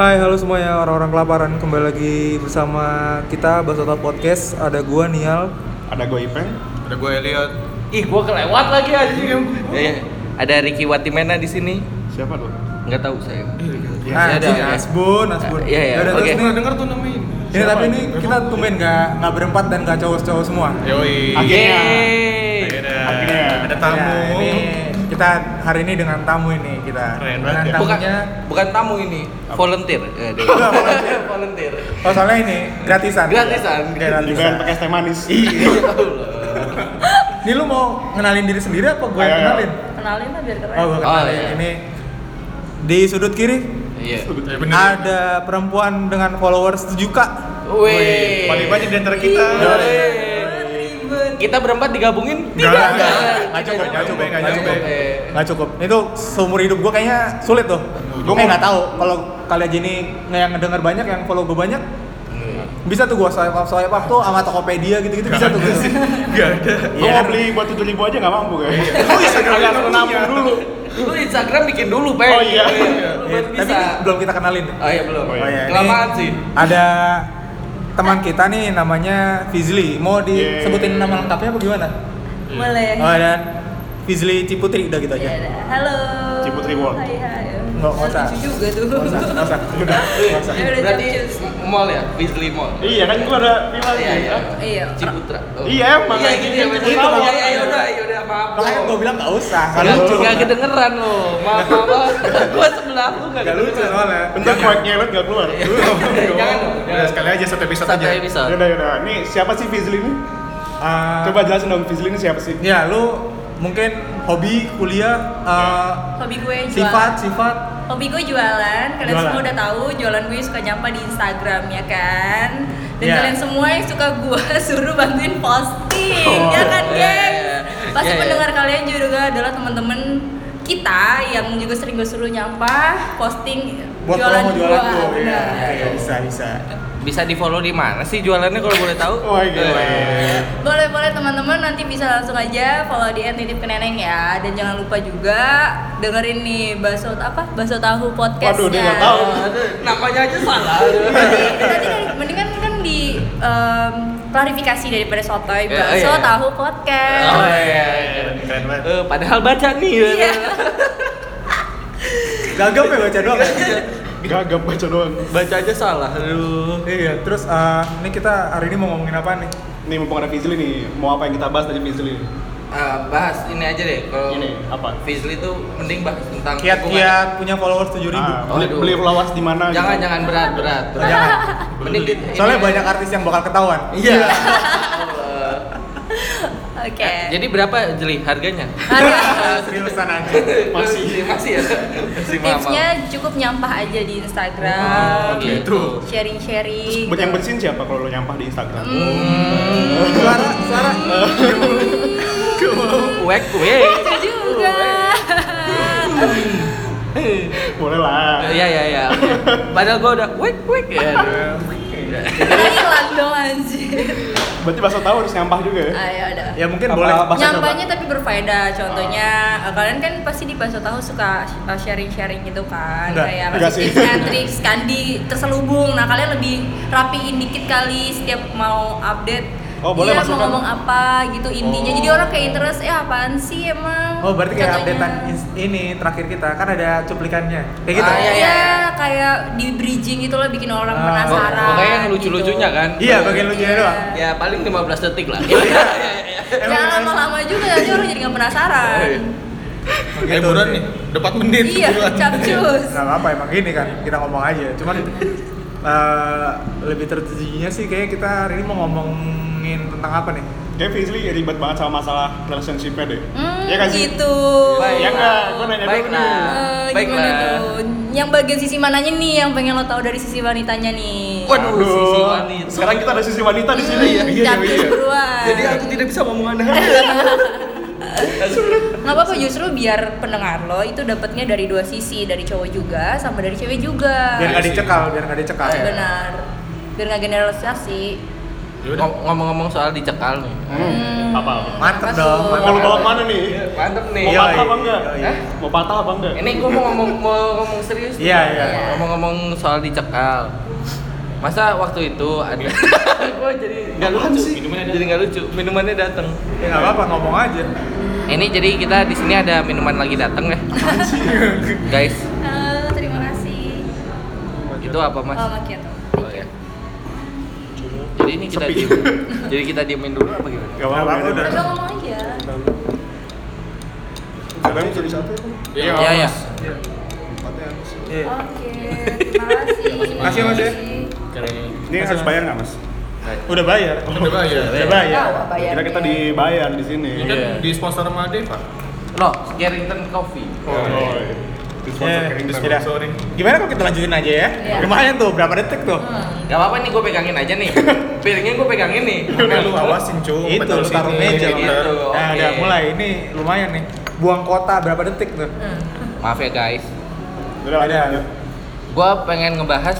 Hai, halo semuanya orang-orang kelaparan kembali lagi bersama kita Basotot Podcast. Ada gua Nial. Ada gue Ipeng. Ada gue Elliot. Ih, gua kelewat lagi anjing. Ya, ya. ada Ricky Watimena di sini. Siapa tuh? Nggak tahu saya. Ya, Ya, ada, ya. Nasbun, Nasbun. Ah, iya, iya, Yaudah, oke. terus Pernah nih. dengar tuh nama ini? Ini tapi ini kita tumben nggak nggak berempat dan nggak cowok-cowok semua. Yoi. Iya. Oke. Yeay. Akhirnya. Akhirnya. Ada tamu. Ya, ini kita hari ini dengan tamu ini kita. Keren banget dengan ya. Bukan tamunya. bukan tamu ini, volunteer. Eh, deh. Enggak, volunteer. volunteer. Oh, soalnya ini gratisan. Gratisan. Dibayar Gratisan. pakai teh manis. Ya Allah. Ini lu mau ngenalin diri sendiri apa gua yang Ayo, ayo. kenalin? kenalin lah biar keren Oh, gua Oh, kenalin. iya. Ini di sudut kiri Iya. Ya, bener. ada perempuan dengan followers 7k. Wih. Paling banyak di antara kita. Wih. Kita berempat digabungin? Nggak, nggak. Nggak cukup, nggak cukup, nggak nggak nyampe. cukup. Eh. Nggak cukup. Itu seumur hidup gue kayaknya sulit tuh. Gue eh, nggak tahu. Kalau kalian jadi nge- yang ngedenger banyak, yang follow gue banyak, bisa tuh gue swipe up swipe up tuh sama Tokopedia gitu-gitu bisa tuh gue. Enggak ada. Gue mau beli buat tujuh ribu aja nggak mampu gue. Oh, Instagram Kalian punya. menampung dulu. Lu Instagram bikin dulu, Peng. Oh, iya. Lu Iya, baru Tapi bisa. belum kita kenalin. Oh iya belum. Oh, iya. iya, ini Kelamaan sih. Ada teman kita nih namanya Fizli. Mau disebutin Yeay. nama lengkapnya apa gimana? boleh Eh. Oh, dan Fizli Ciputri udah gitu aja. Iya. Ya, dah. halo Ciputri World. hai hai Nggak, nggak usah. Lucu juga tuh Nggak usah, nggak usah. Udah, nggak usah. Ya udah, Berarti jam jam. mall ya, Beasley Mall. Iya kan gue ada kan? bilang. Iya, iya. Iya. Ciputra. Oh. Iya, emang. Iya, gitu ya. Itu Itu makanya. ya, ya, udah, ya udah, maaf. Makanya gue bilang nggak usah. Gak Kalau- lucu, gak kedengeran lo. Maaf, maaf. Gua sebelah lu gak Gak lucu kedengeran. soalnya. Bentar kuek nyelet nggak keluar. Iya. Jangan. Udah sekali aja satu episode Satu aja. episode. Yaudah yaudah. Ini siapa sih Fizli ini? Ah, Coba jelasin dong Fizli ini siapa sih? Ya lu mungkin hobi kuliah eh, hobi gue jualan sifat sifat hobi gue jualan kalian Jualan. semua udah tahu jualan gue suka nyampa di Instagram ya kan dan Iya. kalian semua yang suka gue suruh bantuin posting Oh. ya kan Iya, geng iya, iya. pasti Iya, iya. pendengar kalian juga adalah teman-teman kita yang juga sering gue suruh nyampah posting buat promo jualan gue jualan lu. Iya, benar. iya, bisa bisa. Bisa di follow di mana sih jualannya kalau boleh tahu? Oh, iya. Eh, boleh boleh teman-teman nanti bisa langsung aja follow di titip ke neneng ya dan jangan lupa juga dengerin nih bakso apa bakso tahu podcastnya Waduh, dia nggak tahu. aduh, Namanya aja salah. Tadi kan mendingan kan di em, klarifikasi daripada sotoy Iya, bakso iya. tahu podcast Oh iya. Keren banget. Eh, padahal baca nih. Iya. Gagap ya baca doang. Gagap baca doang. Baca aja salah. Aduh. iya, terus eh, ini kita hari ini mau ngomongin apa nih? Nih mumpung ada Fizli nih, mau apa yang kita bahas dari Fizli? Ah, bahas ini aja deh kalau Ini apa? Fizli tuh mending bahas tentang hubungan. Kiat-kiat punya followers 7000 ribu. Ah, beli, Aduh. beli followers di mana? Jangan gitu. jangan berat berat. berat. Jangan. Mending kita- ini Soalnya aja. banyak artis yang bakal ketahuan. Iya. Allah. oke Eh, Jadi berapa jeli harganya? Seriusan aja. Masih. masih ya. Masih tipsnya cukup nyampah aja di Oh, Instagram Gitu. gitu. sharing sharing Buat yang bensin siapa kalau lo nyampah di Instagram? Hmm. Suara, suara. Wek kue. Gitu juga Boleh lah. Iya iya iya. oke. Padahal gua udah wek wek ya. kita hilang dong anjir Berarti bakso tahu harus nyampah juga ya? ayo udah Ya mungkin Apa- boleh. apa- Bahasa nyampahnya tapi berfaedah contohnya eh, kalian kan pasti di bakso tahu suka eh, sharing-sharing gitu kan Enggak, kayak enggak pasti sih. tips and tricks kan di terselubung nah kalian lebih rapiin dikit kali setiap mau update Oh, boleh dia mau masukkan. ngomong apa gitu intinya Oh. jadi orang kayak interest eh apaan sih emang Oh, berarti kayak Contohnya. updatean ins- ini terakhir kita kan ada cuplikannya. Kayak gitu. Ah, iya, Iya, iya. kayak di bridging gitu lah bikin orang Ah. penasaran. Pokoknya yang gitu. lucu-lucunya kan. Iya, bagian lucunya Iya. doang. Ya paling 15 detik lah. Iya, iya, iya. Jangan lama-lama juga, nanti orang jadi nggak penasaran. Oh, iya. gitu. Eh, buruan nih. Dapat menit Iya, buruan. capcus. Gak apa emang gini kan, kita ngomong aja. Cuman eh, lebih tertujunya sih kayaknya kita hari ini mau ngomongin tentang apa nih? Kayak Fizli ribet banget sama masalah relationship-nya deh. Hmm, Iya kan sih? gitu. Ya enggak, gua nanya dulu Baiklah. nih. Eh, gimana Baiklah. tuh? Yang bagian sisi mananya nih yang pengen lo tahu dari sisi wanitanya nih? Waduh, sisi wanita. Sekarang kita ada sisi wanita di sini. Iya, ya? Hmm, capcus buruan. Jadi aku tidak bisa ngomong aneh. Nggak apa-apa justru biar pendengar lo itu dapatnya dari dua sisi, dari cowok juga sama dari cewek juga. Iya Biar gak dicekal, ya. biar gak dicekal. Iya. Benar. Biar nggak generalisasi. Yaudah. Ngom- Ngomong-ngomong soal dicekal nih. Hmm. Apa? Mantep Masuk. dong, iya. Mau lu mantep. bawa kemana nih? Mantep nih. Mau Iya, patah iya, apa enggak? iya, iya. Mau patah apa enggak? Ini gue mau ngomong mau ngomong serius. nih. Iya, iya. Ngomong-ngomong soal dicekal. Masa waktu itu ada gue jadi nggak Apaan lucu sih? Minumannya jadi nggak lucu minumannya datang Ya nggak apa-apa, ngomong aja. ini jadi kita di sini ada minuman lagi datang ya guys Halo, Eh, terima kasih. itu apa mas Oh, macchiato. Oh, ya. jadi ini kita Sepi. diem. jadi kita diemin dulu apa gimana Gak apa-apa, apa-apa, udah. udah. Udah ngomong aja. Kadang jadi satu ya. Iya, Iya, Mas. iya. Iya. Oke, terima kasih. Terima Makasih, Mas, ya. Ini harus bayar nggak mas? Udah bayar. Udah bayar. Udah bayar. Tahu apa ya? Kira kita dibayar di sini. Iya. Iya. Ini kan di sponsor sama Deva. no Carrington Coffee Oh, iya. Di sponsor Iya, kering di terus. sepeda. Gimana kalau kita lanjutin aja ya? Iya. Hmm. Lumayan tuh, berapa detik tuh? Gak apa-apa nih gue pegangin aja nih Piringnya gue pegangin nih Nah, lu awasin cuy. Itu, lu taruh meja, gitu. Nah, Oke. udah mulai. Ini lumayan nih. Buang kota berapa detik tuh? Maaf ya guys Udah, Ada. lanjut. Gue pengen ngebahas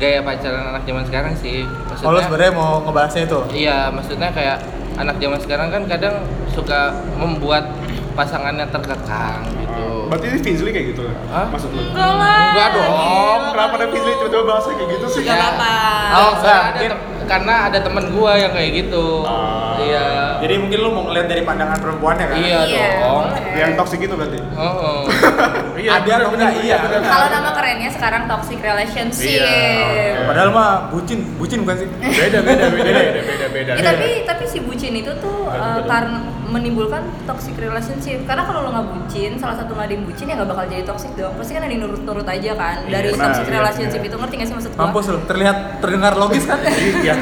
gaya pacaran anak zaman sekarang sih Oh, lu Maksudnya sebenarnya mau ngebahasnya itu? Iya maksudnya kayak anak zaman sekarang kan kadang suka membuat pasangannya terkekang gitu Berarti ini Fizli kayak gitu Hah? maksud lu? Enggak lah. Enggak dong. Gila, Kenapa ada Fizli tiba-tiba bahasnya kayak gitu sih? Gak apa-apa. Oh, karena ada, mungkin- tem- karena ada temen gua yang kayak gitu. Ah. Iya. Jadi mungkin lu mau ngeliat dari pandangan perempuannya kan? Iya Iya, dong. boleh. Yang toksik itu berarti? Oh, oh. Iya, Ada atau enggak? Iya. Kalau nama kerennya sekarang toxic relationship. Iya, oke. Padahal mah bucin, bucin bukan sih? Beda, beda, beda, Iya. beda, beda, beda. Eh, tapi tapi si bucin itu tuh eh, karena menimbulkan toxic relationship. Karena kalau lo nggak bucin, salah satu nggak ada yang bucin ya nggak bakal jadi toxic dong. Pasti kan ada yang nurut-nurut aja kan dari benar, toxic iya, relationship itu ngerti nggak sih maksud gua? Mampus lu, terlihat terdengar logis kan? Iya.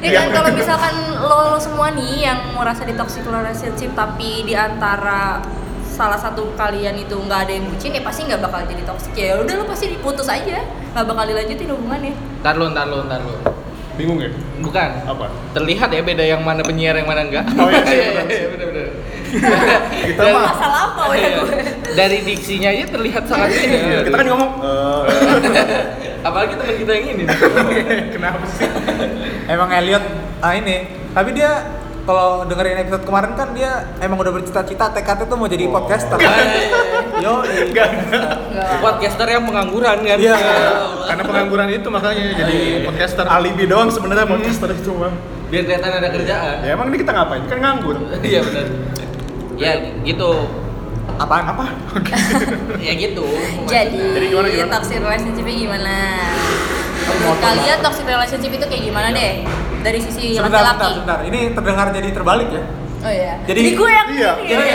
Ya kan kalau misalkan lo, lo semua nih yang merasa di toxic relationship tapi di antara salah satu kalian itu nggak ada yang bucin ya pasti nggak bakal jadi toxic ya udah lo pasti diputus aja nggak bakal dilanjutin hubungannya Ntar lu, ntar lu, ntar lu. Bingung ya? Bukan. Apa? Terlihat ya beda yang mana penyiar yang mana enggak. Oh, iya, iya, iya, benar. iya, benar-benar. Kita Dan- mah- masalah apa ya Iya. gue Dari diksinya aja terlihat sangat beda. Kita kan ngomong Apalagi teman kita yang ini. Kenapa sih? Emang Elliot ah ini, tapi dia kalau dengerin episode kemarin kan dia emang udah bercita-cita tekadnya tuh mau jadi Oh. podcaster. Yo, Enggak. Podcaster yang pengangguran kan. Iya. Karena pengangguran itu makanya jadi podcaster. Iya, alibi doang sebenarnya podcaster itu mah. Biar kelihatan ada kerjaan. Ya emang ini kita ngapain? Kan nganggur. Iya benar. Ya gitu. apaan apa? Ya gitu. jadi, Jadi gimana, gimana? toxic relationshipnya gimana menurut kalian toxic relationship itu kayak gimana deh dari sisi Sebentar, sebentar, Iya, laki-laki sebentar. Ini terdengar jadi terbalik ya. oh iya Jadi- Ini gue yang iya, ini Jadi,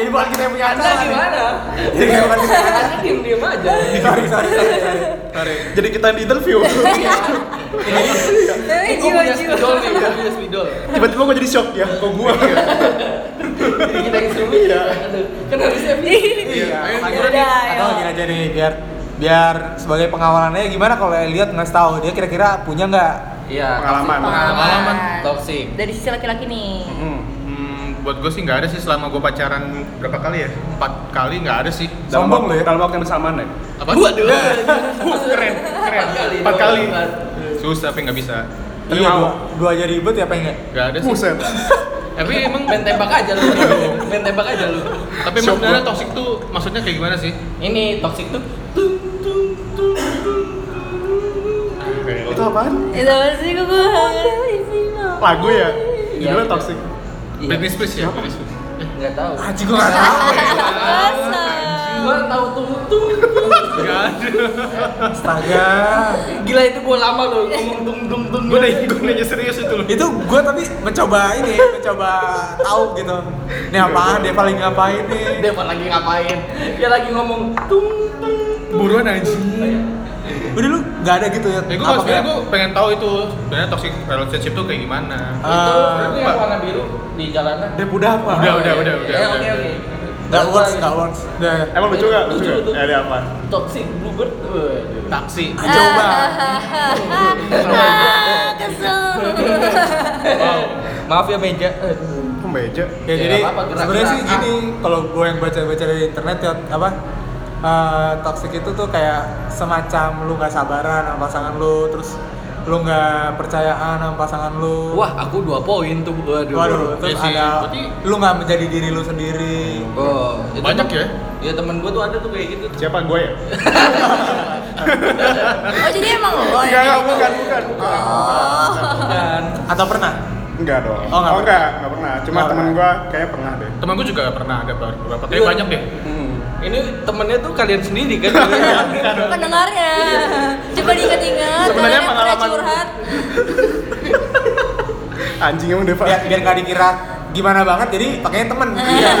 jadi bukan kita yang punya Anda acara. nih. gimana? Jadi bukan kita. Anda diem diem aja. Sorry, sorry, sorry, sorry. sorry. Jadi kita di interview. tapi Gue punya jiwa-jiwa spidol nih, gue punya spidol. Tiba-tiba gue jadi shock ya, kok gue? Jadi kita instrumen ya. Kan harusnya Iya, Ayo, makanya- yaudah, ayo. atau gini aja nih biar biar sebagai pengawalannya gimana kalau Elliot nggak tahu dia kira-kira punya nggak Iya. Pengalaman. Pengalaman toxic. Mm-hmm. dari sisi laki-laki nih Hmm, buat gue sih nggak ada sih selama gue pacaran berapa kali ya? Empat kali nggak ada sih. Dalam Sombong waktu- lu ya. Dalam waktu yang bersamaan ya. Apa? Nah. Waduh. keren, keren. Empat Empat kali. kali. Susah tapi nggak bisa. Tapi iya mau. dua, dua aja ribet ya pengen Nggak ada sih. Buset. Tapi emang main tembak aja lu. Main tembak aja lu. Tapi emang sebenarnya toxic tuh maksudnya kayak gimana sih? Ini toxic tuh. Itu apaan? itu apa sih gue Lagu ya? Iya, Judulnya iya. toxic. Britney Spears ya? Britney Spears. Enggak tahu. ya. Aji gue nggak tahu Gua tahu tuh tuh. Nggak ada. astaga Gila itu gua lama loh ngomong dung dung dung. Gue nanya, gue nanya serius itu loh. itu gue tapi mencoba ini mencoba tahu gitu ini apaan dia paling ngapain nih Dia apa lagi ngapain? Dia lagi ngomong tung tung. Buruan anjing. udah lu nggak ada gitu ya Ya gue apa sebenarnya kayak- gue pengen tahu itu sebenarnya toxic relationship tuh kayak gimana. Ah. itu itu gitu. yang warna biru di jalanan. dia udah apa Udah, udah, udah, Eh, udah, Oke udah. oke. nggak works nggak works udah ya. Emang lucu gak? Lucu Lucu, gak? lucu. Ya, Ada apa? Toxic bluebird. Waduh. Taksi. Ah, coba Eh, Wow. Maaf ya meja. Eh, Pembeja. ya, Ya, jadi nggak apa-apa, gerak-gerak. sebenarnya sih gini kalau gue yang baca-baca dari internet ya apa eh, toxic itu tuh kayak semacam lu nggak sabaran sama pasangan lu terus lo nggak percayaan sama pasangan lo Wah, aku dua poin tuh. Waduh. waduh terus Ya sih, ada berarti- lo nggak menjadi diri lo sendiri Oh, Banyak ya? Ya temen gue tuh ada tuh kayak gitu. Siapa gue ya? Oh jadi emang lo Enggak, enggak, yang kayak bukan, gitu? bukan, bukan. Oh. Kan. atau pernah Enggak dong. Oh, enggak enggak, enggak pernah. Cuma Oh, temen enggak. gue kayaknya pernah deh. Temen gue juga pernah ada beberapa, tapi Iya. banyak deh. Ini temennya tuh kalian sendiri kan? Pendengarnya. Coba diingat-ingat. Sebenarnya kalian yang pernah pengalaman- curhat. Anjing emang Deva. biar biar nggak dikira gimana banget jadi pakainya temen Iya.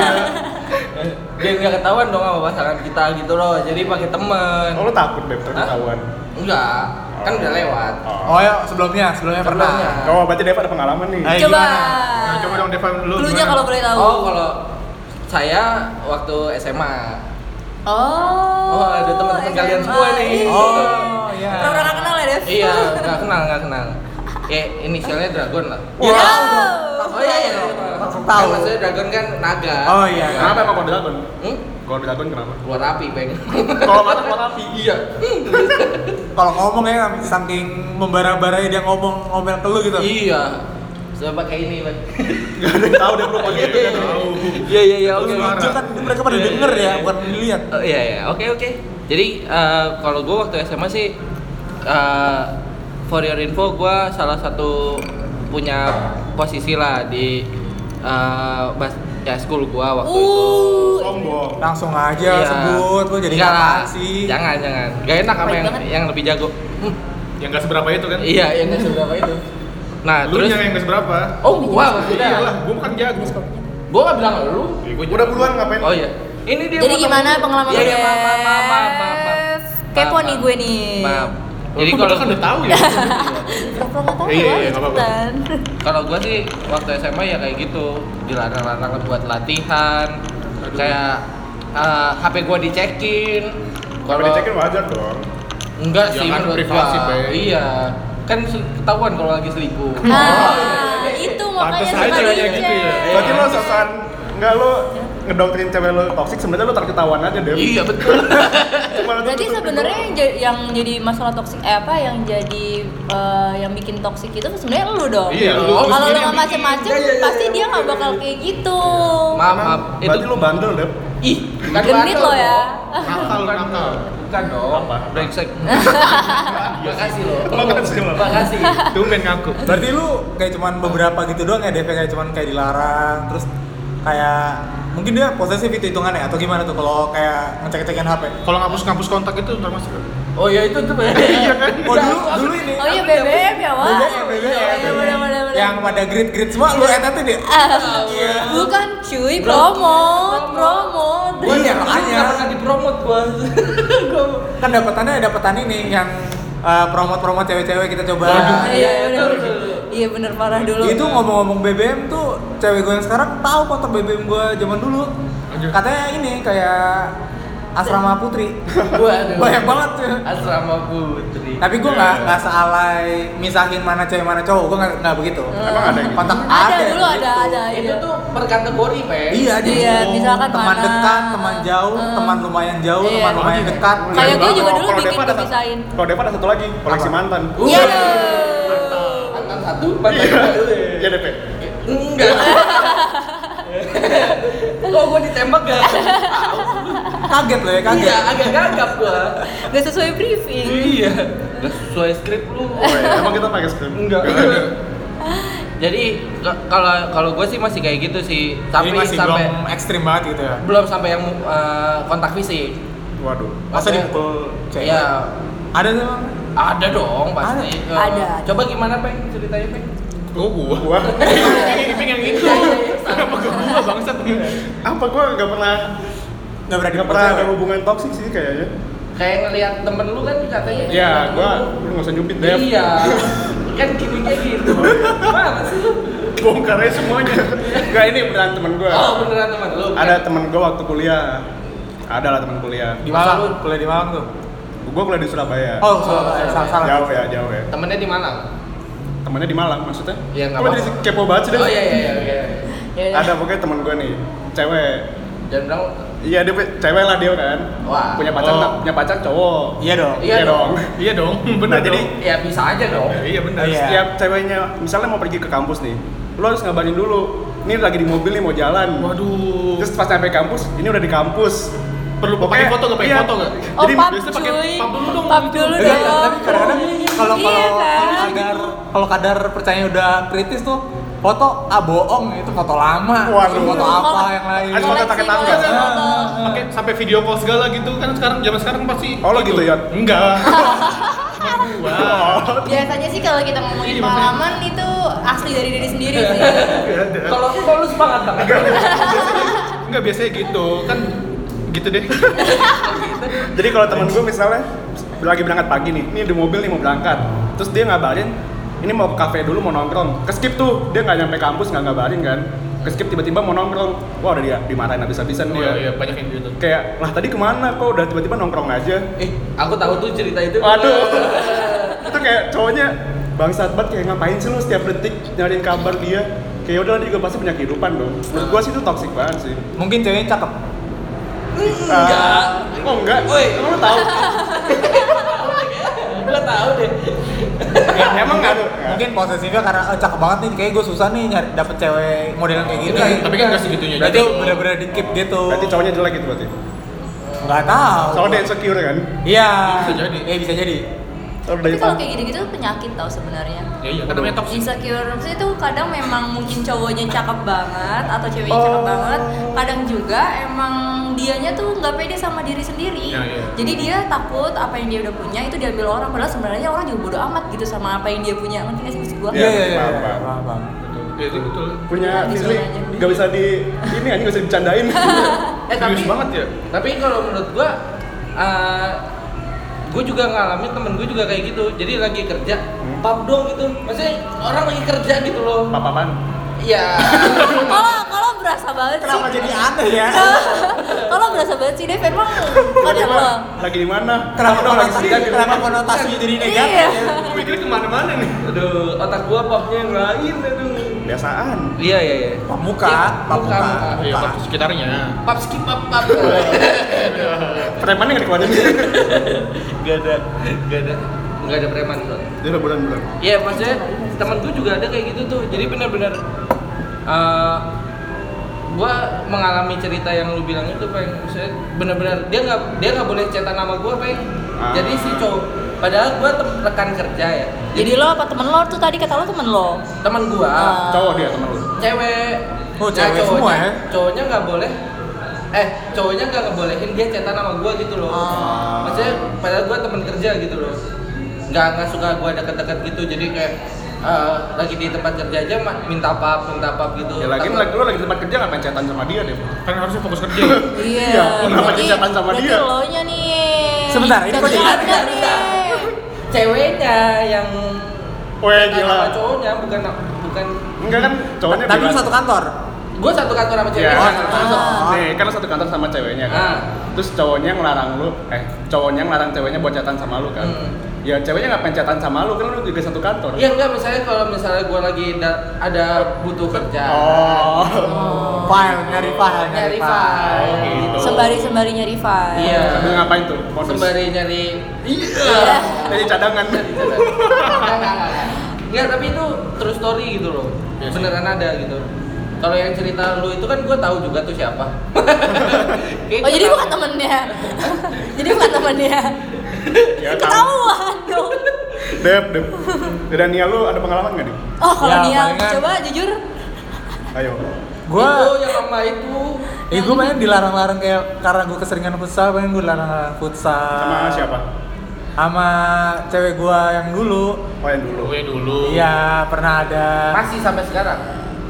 Dia nggak ketahuan dong sama pasangan kita gitu loh. Jadi pakai temen. Oh, lo takut deh Hah? ketahuan. Enggak, kan udah lewat. oh ya sebelumnya sebelumnya pernah Sebelumnya. Oh, berarti Deva ada pengalaman nih. Ayo. Eh, Coba. Nah, coba dong Devan dulu. Dulunya gimana? kalau boleh tahu. Oh, kalau saya waktu SMA. Oh. Oh, ada teman-teman kalian SMA. semua nih. Iya. Oh, iya. Pernah nggak kenal ya, Dev? Iya, nggak kenal, nggak kenal. Kayak inisialnya Dragon lah. Wow. Iya. Oh iya, iya. Langsung tahu. Kan maksudnya Dragon kan naga. Oh, iya. Ya. Kenapa emang kalau dragon? Hmm? Kalau dragon kenapa? Keluar api, Bang. Kalau mata keluar api. Iya. kalau ngomong ya saking membara-baranya dia ngomong ngomel ke lu gitu iya. Coba kayak ini, Bang. Enggak ada yang tahu deh bro Iya, pakai itu iya, kan. tahu. Iya, iya, iya. Lu Oke. Parah. lucu kan mereka pada Iya, iya, denger ya iya. bukan dilihat Oh iya iya, oke oke. Jadi eh, kalau gue waktu SMA sih eh, for your info gue salah satu punya posisi lah di eh, bas ya school gue waktu itu. Uh. Sombong. langsung aja Iya. sebut lu jadi Enggak lah. apa sih Jangan jangan. Gak enak sama Baik yang banget. yang lebih jago. Hmm, Yang gak seberapa itu kan? iya yang gak seberapa itu. Nah Lu terus. nya yang gak seberapa? Oh gua maksudnya. Iyalah, gua bukan jago. Gua gak bilang lu. Ya, gua Udah jago. puluhan ngapain? Oh iya. Ini dia. Jadi mau- gimana pengalaman Iya, lu, iya, maaf, maaf, maaf, maaf, maaf, maaf. Dev? Kepo nih gue nih. Maaf. Jadi Lu kalau kan udah tahu ya. Kepo nggak tahu Iya, ya, iya, nggak apa-apa. cepetan. Kalau gua sih waktu SMA ya kayak gitu, dilarang-larang buat latihan, kayak eh, HP gua dicekin. Kalau Kalau dicekin wajar dong. enggak Ya sih kan, menurut privasi, gua. Bay. Iya. Kan se- ketahuan kalau lagi selingkuh. Nah, itu makanya Pantes suka aja ya gitu ya. dicek. Eh. Berarti lo sosokan enggak lo ngedoktrin cewek lo toksik sebenarnya lo tarik ketahuan aja deh. Iya betul. Cuma lo tuh Berarti tutupin sebenarnya doang. yang, jadi- yang jadi masalah toksik eh apa yang jadi eh, yang bikin toksik itu sebenarnya lu dong. Oh, Iya, lu. Kalau lu Sendiri nggak yang bikin. macem-macem, Iya, pasti dia nggak bakal kayak gitu. Maaf, maaf. Nah, Itu Berarti lo bandel deh. ih, bukan Genit bandel lo ya. dong. Nakal, Bukan, nakal. Bukan dong. Apa? Brengsek. Makasih lo. Makasih lo. Makasih. Tumben ngaku. berarti lu kayak cuman beberapa gitu doang ya DP kayak cuman kayak dilarang terus kayak mungkin dia posesif itu hitungannya atau gimana tuh kalau kayak ngecek-ngecekin HP Kalau ngapus-ngapus kontak itu termasuk Oh ya itu tuh. Iya kan? Oh dulu dulu ini Oh iya BBM ya, Wak. BBM, BBM, Iya, iya, bener, bener, bener. yang pada grid-grid semua lu Iya. etetin deh Ah, Bukan cuy, promote, promote. Gua iya, makanya. Makanya pernah dipromot gua. Gua kan dapatannya dapetan ini yang eh, promot-promot cewek-cewek kita coba Waduh. Ah, Iya, iya, bener. Iya bener parah dulu. itu kan. ngomong-ngomong BBM tuh cewek gue yang sekarang tahu foto BBM gue zaman dulu Aduh. katanya ini kayak asrama putri Iya. Waduh. banyak banget tuh Asrama Putri. tapi gue nggak nggak sealai misahin mana cewek mana cowok gue nggak nggak begitu Emang ada yang gitu? kontak ada dulu ada ada itu iya. tuh per kategori, Pe. iya jadi Iya, ngomong misalkan teman mana, dekat teman jauh eh. teman lumayan jauh Iya. teman lumayan Oh, dekat Kayak Iya, gue Bang. juga dulu Kalau bikin Deva ada- dipisahin. Kalau Deva ada satu lagi, koleksi Apa? mantan. Iya. Mantan satu, mantan dua. Iya DP. Enggak. Kok gua ditembak gak? kaget loh ya kaget Iya, agak gagap gua. Gak sesuai briefing. Iya. Gak sesuai skrip lu. Oh, iya. Emang kita pakai skrip? Enggak. Jadi k- kalau kalau gue sih masih kayak gitu sih, tapi Ini masih sampai eh, belum ekstrim banget gitu ya belum sampai yang eh, kontak fisik. Waduh. masa Maksudnya- dipukul cewek Iya, ada tuh Bang? Ada dong pasti. Eh, Ada. Coba gimana peng ceritanya peng? Oh gua. Gua Iping yang itu. Kenapa ke gua bangsat? apa gua nggak pernah nggak berani nggak dipukul pernah ada cewek. hubungan toksik sih kayaknya. Kayak ngelihat temen lu kan katanya. Iya, Ya, temen gua lu. lu nggak usah nyubit deh. Iya. kan gini kayak gitu. Gimana sih lu? Bongkarnya semuanya. Enggak ini beneran temen gua. Oh beneran temen lu. kan? Ada temen gua waktu kuliah. Ada lah temen kuliah. di Malang kuliah di Malang tuh Gua kuliah di Surabaya. oh salah salah salah Jauh ya, jauh ya. Temennya di Malang. Temennya di Malang maksudnya? Iya, nggak Gua jadi apa-apa. kepo banget sih deh. Oh iya iya iya. Ya udah. Ada pokoknya temen gua nih, cewek. Dan bilang Iya dia pe- cewek lah dia kan. Wah. Punya pacar Oh. tak? Punya pacar cowok. Iya dong. Iya dong. Iya dong, benar Nah, jadi dong. Ya bisa aja dong. Iya benar. Iya. setiap ceweknya misalnya mau pergi ke kampus nih, lo harus ngabarin dulu. Ini lagi di mobil nih mau jalan. Waduh. Terus pas sampai kampus, ini udah di kampus. perlu Pokoknya- pakai foto nggak pakai iya. foto nggak? Oh, Jadi pub biasanya pakai cuy. pub dulu dong. Pub dulu Iya, dong. tapi kadang-kadang kalau Iya, kalau kalau kan? kadar kalau kadar percaya udah kritis tuh foto ah bohong itu foto lama Waduh. foto apa yang lain Ada foto pakai tangga. Koleksi, koleksi foto. Pakai sampai video call segala gitu kan sekarang zaman sekarang pasti. Oh, lo gitu, Yot? Enggak. Cuman gua. Biasanya sih kalau kita Iya, ngomongin makanya. pengalaman itu asli dari diri sendiri sih. Kalau kalau lu semangat banget. Enggak biasanya gitu kan gitu deh. Jadi kalau temen gue misalnya lagi berangkat pagi nih, ini di mobil nih mau berangkat. Terus dia ngabarin, ini mau ke kafe dulu mau nongkrong. Keskip tuh, dia nggak nyampe kampus nggak ngabarin kan. Keskip tiba-tiba mau nongkrong. Wah udah dia dimarahin habis-habisan Oh dia. iya banyak yang gitu. Kayak lah tadi kemana kok udah tiba-tiba nongkrong aja. Eh, aku tahu tuh cerita itu. Waduh. itu kayak cowoknya bangsat banget kayak ngapain sih lu setiap detik nyariin kabar dia. Kayak udah dia juga pasti punya kehidupan dong. Menurut gua sih itu toxic banget sih. mungkin ceweknya cakep Enggak. Oh enggak. Woi. Emang lu tahu? Gua tahu deh. Emang enggak tuh? mungkin posesifnya karena "Eh, cakep banget nih kayak gue susah nih nyari dapet cewek model yang kayak gini Tapi kan nggak segitunya berarti juga. bener-bener di keep gitu Berarti cowoknya jelek gitu berarti. nggak tahu Soalnya dia insecure kan. iya Bisa jadi. iya bisa jadi Soalnya Tapi dari kalau kayak gitu-gitu penyakit tau sebenarnya. Ya iya kan namanya toxic. Insecure maksudnya itu kadang memang mungkin cowoknya cakep banget atau ceweknya cakep Oh. banget. Kadang juga emang dianya tuh nggak pede sama diri sendiri. Ya, ya. Jadi dia takut apa yang dia udah punya itu diambil orang padahal sebenarnya orang juga bodo amat gitu sama apa yang dia punya. Ngerti nggak sih maksud gua? iya Iya, iya iya paham, paham. paham, paham. Ya itu betul. punya Di Disney zona aja. nggak bisa di ini aja nggak bisa dibicarain Eh, Serius tapi- banget ya. Tapi kalau menurut gua eh gua juga ngalamin temen gua juga kayak gitu. Jadi lagi kerja, pap dong gitu. Maksudnya orang lagi kerja gitu loh. apa apaan Iya. Kalau kalau berasa banget sih. kenapa jadi aneh ya kalau berasa banget sih Dev emang kocak lo. lagi di mana kenapa Apa dong lagi konotasi sedih di kenapa rumah? konotasinya jadi negatif ya? Iya. Gue mikirnya kemana-mana nih. aduh, otak gua popnya yang lain aduh. biasaan Iya, iya, iya. Pamuka, Iya, pamuka. Iya Pak. waktu sekitarnya. Pap skip pap pap. preman nggak dikeluarin Gak ada, gak ada. Gak ada preman bro. dia udah bulan bulan Oh. Iya maksudnya temen gue juga ada kayak gitu tuh. Jadi benar-benar eh gue mengalami cerita yang lu bilang itu peng. Maksudnya benar-benar dia nggak dia nggak boleh cetak nama gue peng. Jadi si cowok padahal gue rekan kerja ya. Jadi lo apa temen lo tuh tadi kata lo temen lo. teman gue Ah. cowok dia teman lu cewek. Nah, Oh, cewek cowoknya, semua ya? Cowoknya nggak boleh eh cowoknya nggak ngebolehin dia cetak nama gue gitu loh. Ah. Maksudnya padahal gue temen kerja gitu loh. Nggak nggak suka gue deket-deket gitu jadi kayak eh, lagi di tempat kerja aja ma- minta pap minta pap gitu. ya lagi Takut- lagi lu lagi di tempat kerja ngapain chatan sama dia deh Kan harusnya fokus kerja. Iya. kenapa berarti- dicatan sama berarti dia? lo nya nih. Sebentar, ini kok jadi- Cocok ada nih. ceweknya yang Weh, cetak gila. nama cowoknya bukan bukan enggak kan cowoknya tapi lu bilang- satu kantor gue satu kantor sama Iya, ceweknya. Oh, satu Ah. kantor. Nih, kan lu satu kantor sama ceweknya kan. Ya. Ah. Terus cowoknya ngelarang lu, eh cowoknya ngelarang ceweknya buat chatan sama lu kan. Hmm. Ya ceweknya ngapain chatan sama lu kan lu juga satu kantor. Iya enggak misalnya kalau misalnya gue lagi da- ada butuh kerja. Oh. Oh. file nyari file nyari file Oh, gitu. Sembari sembari nyari file. Iya. Sambil ngapain tuh? Modus. sembari nyari Iya. Jadi cadangan. Enggak, enggak, enggak, enggak. Enggak, tapi itu true story gitu loh Iya sih. beneran ada gitu kalau yang cerita lu itu kan gue tahu juga tuh siapa Kayak Oh gua jadi tahu. bukan temennya. jadi bukan temennya. Ya, tahu. Ketahuan dong. Dep, Dep. Dan Nia lu ada pengalaman nggak nih? Oh kalau Ya, dia palingan- coba jujur. Ayo. gue itu yang sama itu eh gue pengen dilarang-larang kayak karena gue keseringan futsal pengen gue dilarang futsal Sama siapa? sama cewek gue yang dulu Oh yang dulu. Gue dulu. iya pernah ada masih sampai sekarang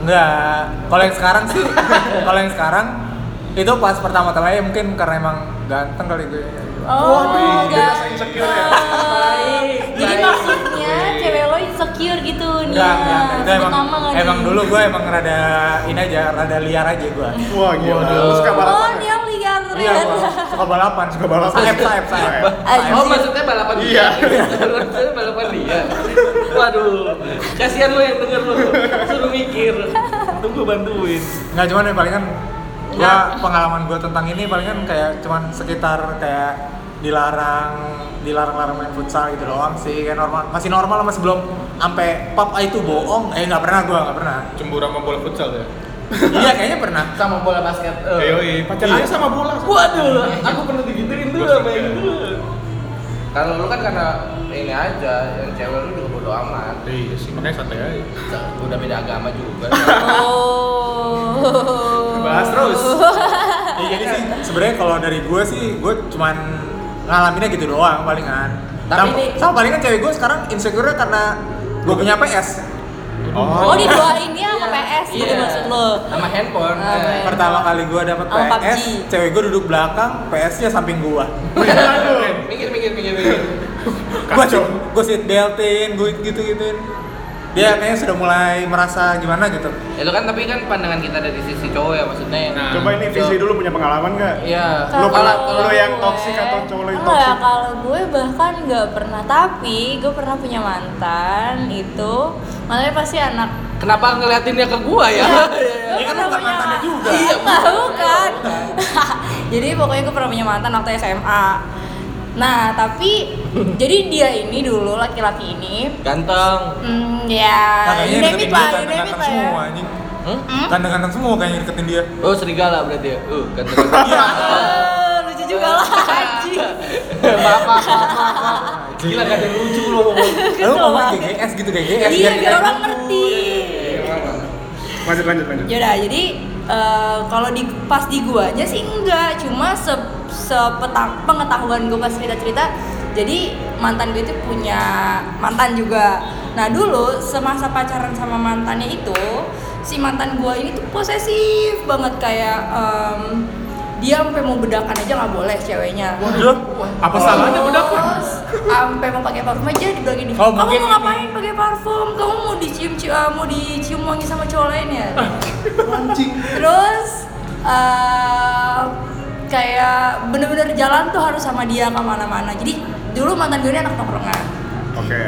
Enggak. Kalau yang sekarang sih, kalau yang sekarang itu pas pertama-tama ya mungkin karena emang ganteng kali gue. Oh, Waduh, dia enggak. rasa insecure ya? Baik, Jadi baik. maksudnya cewek lo insecure gitu nih. Iya, Enggak, enggak. Itu Sebut emang nama nggak emang nih? dulu gue emang rada ini aja, rada liar aja gue. Wah gila. Waduh. Lu suka Oh, balapan. dia liar Iya, Ren. gue suka balapan, Suka balapan. Saep, saep, saep. Saep. Anjir. oh maksudnya balapan Iya. dia maksudnya balapan dia waduh kasihan lo yang denger lo suruh mikir tunggu bantuin Enggak cuman yang ya, paling kan Iya. gua pengalaman gua tentang ini palingan kayak cuman sekitar kayak dilarang dilarang-larang main futsal gitu doang sih kayak normal masih normal masih belum sampai pap "Ah, itu bohong eh nggak pernah gua nggak pernah Cemburu sama bola futsal ya? iya kayaknya pernah sama bola basket. eh. Eh, yoi, pacarannya Iya. sama bola. Waduh, aku pernah digituin dulu Gua iya. sama suka. yang dulu. Kalau lu kan karena ini aja, yang cewek lu juga bodo amat. Iya sih, makanya santai aja. Udah beda agama juga. Oh. Bahas terus. Iya jadi sih sebenarnya kalau dari gue sih gue cuman ngalaminnya gitu doang palingan. Tapi Sama- ini- sama palingan cewek gue sekarang insecure karena gue punya PS. Oh, diduain ya sama PS gitu Iya. maksud lo. Sama handphone. Ah, eh. handphone. Pertama kali gue dapet Oh, PS, Sama PUBG. cewek gue duduk belakang, PS-nya samping gue. Minggir, minggir, minggir, minggir. Gue gue seat beltin, gue gitu gituin. Dia Iya. kayaknya sudah mulai merasa gimana gitu. Nah, Ya lu kan tapi kan pandangan kita dari sisi cowok ya maksudnya. Nah. Coba ini Coba. Visi dulu punya pengalaman nggak? Iya. Lu Kalau kalau- kalau lu yang gue- toxic atau cowok lo yang Enggak, toxic? kalau gue bahkan nggak pernah tapi gue pernah punya mantan itu mantannya pasti anak kenapa ngeliatin dia ke gua ya? Gue kan bukan pernah punya- mantannya juga. Iya, bukan. bukan. jadi pokoknya gue pernah punya mantan waktu SMA. Nah, tapi jadi dia ini dulu laki-laki ini Ganteng. Hmm, ya, Kakaknya you name it deketin lah, dia you name it ganteng-ganteng lah ya. semua anjing. Hmm? Hmm? Ganteng-ganteng semua kayaknya deketin dia. Oh serigala berarti ya? Uh, ganteng. Iya. Eh, lucu juga lah, anjing. maaf, maaf, maaf, maaf, maaf. Gila gak ada yang lucu lu ngomong. Lu ngomong kayak GS gitu kayak gitu. GS. Iya, biar biar kita- orang Oh, ngerti. Lanjut lanjut lanjut. Yaudah, jadi eh, kalau di pas di guanya sih enggak, cuma se sepetang pengetahuan gue pas cerita-cerita. Jadi mantan gue itu punya mantan juga. Nah dulu semasa pacaran sama mantannya itu, si mantan gue ini tuh posesif banget kayak em, dia sampai mau bedakan aja nggak boleh ceweknya. Waduh, Oh. apa salahnya budak? Terus, Sampai mau pakai parfum aja dibilangin Oh, Kamu mungkin mau ini." ngapain pakai parfum? Kamu mau dicium cium mau dicium wangi sama cowok lain ya? Ah. Terus eh, kayak bener-bener jalan tuh harus sama dia kemana-mana. Jadi dulu mantan gue ini anak tongkrongan. Oke.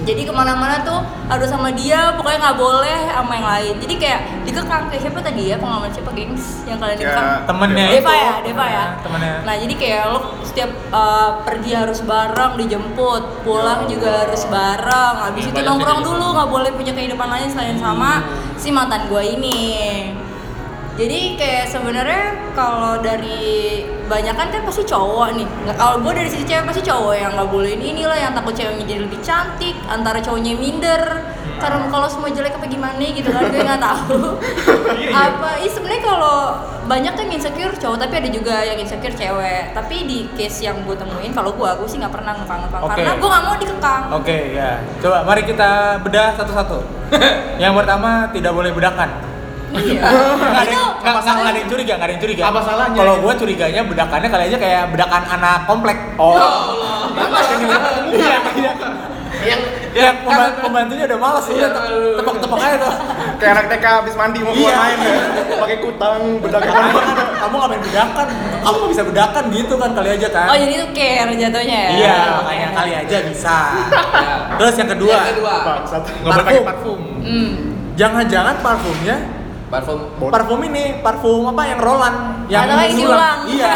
Jadi kemana-mana tuh harus sama dia, pokoknya nggak boleh sama yang lain. Jadi kayak dikekang kayak siapa tadi ya pengalaman siapa gengs yang kalian Ya. dikekang? Temennya itu. Deva ya, Deva ya. Temennya. Nah jadi kayak lo setiap uh, pergi harus bareng, dijemput, pulang juga harus bareng. Habis itu nongkrong dulu, nggak boleh punya kehidupan lain selain sama si mantan gue ini. Jadi kayak sebenarnya kalau dari banyak kan kan pasti cowok nih. Nggak kalau gue dari sisi cewek pasti cowok yang nggak boleh ini inilah yang takut ceweknya jadi lebih cantik, antara cowoknya minder. Karena kalau semua jelek apa gimana gitu kan gue nggak tahu. Iya, apa? Ih sebenarnya kalau banyak kan insecure cowok tapi ada juga yang insecure cewek. Tapi di case yang gue temuin kalau gue gue sih nggak pernah ngekang-ngekang Oke. karena gue nggak mau dikekang. Oke ya, coba mari kita bedah satu-satu. yang pertama tidak boleh bedakan. Iya. Nggak ada, Itu yang- nggak, nggak- nggak ada yang curiga, nggak ada yang curiga. Apa salahnya? Kalau gue curiganya bedakannya kali aja kayak bedakan anak komplek. Ya Oh. Iya, iya. Yang Ya, pemba- pembantunya udah malas Iya, ya, terlalu. tepok-tepok aja tuh. Kayak anak TK habis mandi mau keluar Iya. main ya. Pakai kutang, bedak Kamu kamu nggak main bedakan, kamu nggak bisa bedakan gitu kan kali aja kan? Oh jadi itu care jatuhnya ya? Iya, makanya kali aja bisa. Terus yang kedua, Iya. Yang kedua. Bangsat. Nggak boleh pakai Parfum. parfum. Hmm. jangan-jangan parfumnya, Parfum. parfum ini, parfum apa yang Roland, yang Atau yang diulang. Iya.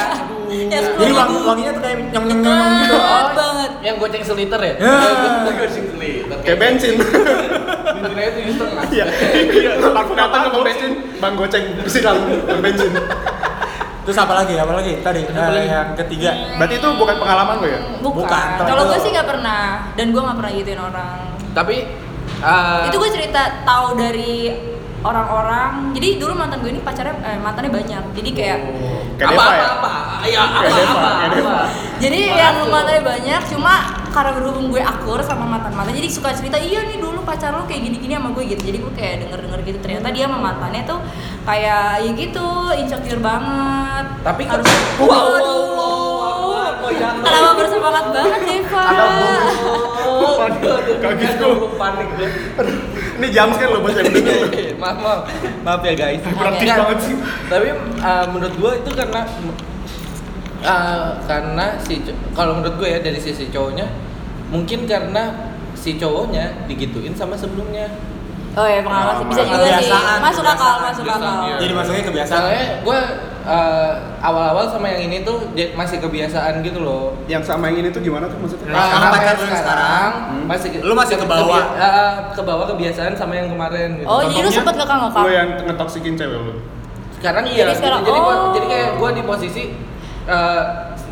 Yang Jadi sepuluh wangi ribu. wanginya tuh kayak nyong nyong nyong nyong gitu. Banget banget. Yang goceng seliter ya? Ya. Yang goceng seliter. Kayak bensin. Bensinnya tujuh setengah. Iya. Iya. Parfum datang sama bensin, bang goceng silang bensin. Terus apa lagi? Apa lagi? Tadi Apa eh, lagi? Hmm. yang ketiga. Berarti itu bukan pengalaman lo ya? Bukan. Bukan, teman Kalau lu. gue sih nggak pernah dan gue nggak pernah gituin orang. Tapi eh, Itu gue cerita tahu dari orang-orang. Jadi dulu mantan gue ini pacarnya eh, mantannya banyak. Jadi kayak Kayak apa, Deva ya? apa, apa, ya apa, Kayak Deva, apa, kayak Deva. apa. Jadi Orang yang tuh. mantannya banyak, cuma karena berhubung gue akur sama mantan-mantan, jadi suka cerita, iya nih dulu pacar lo kayak gini-gini sama gue gitu. Jadi gue kayak denger-denger gitu, ternyata dia sama mantannya tuh kayak ya gitu, insecure banget. Tapi kan- harus Wow, wow, wow, Waduh. wow, wow, wow, jangan. Kenapa bersemangat banget Deva? Oh, aduh, aduh, Kaget aduh, panik gue. Ini jam sekali lo buat yang bener. maaf, maaf, maaf ya guys. Praktis Nggak, banget sih. Tapi eh, menurut gue itu karena eh, karena si co- kalau menurut gue ya dari sisi cowoknya mungkin karena si cowoknya digituin sama sebelumnya. Oh ya pengalaman sih bisa juga sih. Kebiasaan, Masuk kebiasaan, akal, masuk kebiasaan, akal. iya. Jadi masuknya kebiasaan. Soalnya gue eh, awal-awal sama yang ini tuh dia- masih kebiasaan gitu loh. yang sama yang ini tuh gimana tuh maksudnya? Yang Ah, sekarang apa pacar yang lu yang Hmm? sekarang sekarang, masih lu masih ke bawah. kebi- ah, ah, ke bawah kebiasaan sama yang kemarin gitu. Oh, jadi lu Contohnya, sempet ngekang-ngekang? Lu yang ngetoksikin cewek lu. sekarang iya. Jadi sekarang- jadi gua oh. jadi kayak gua di posisi eh,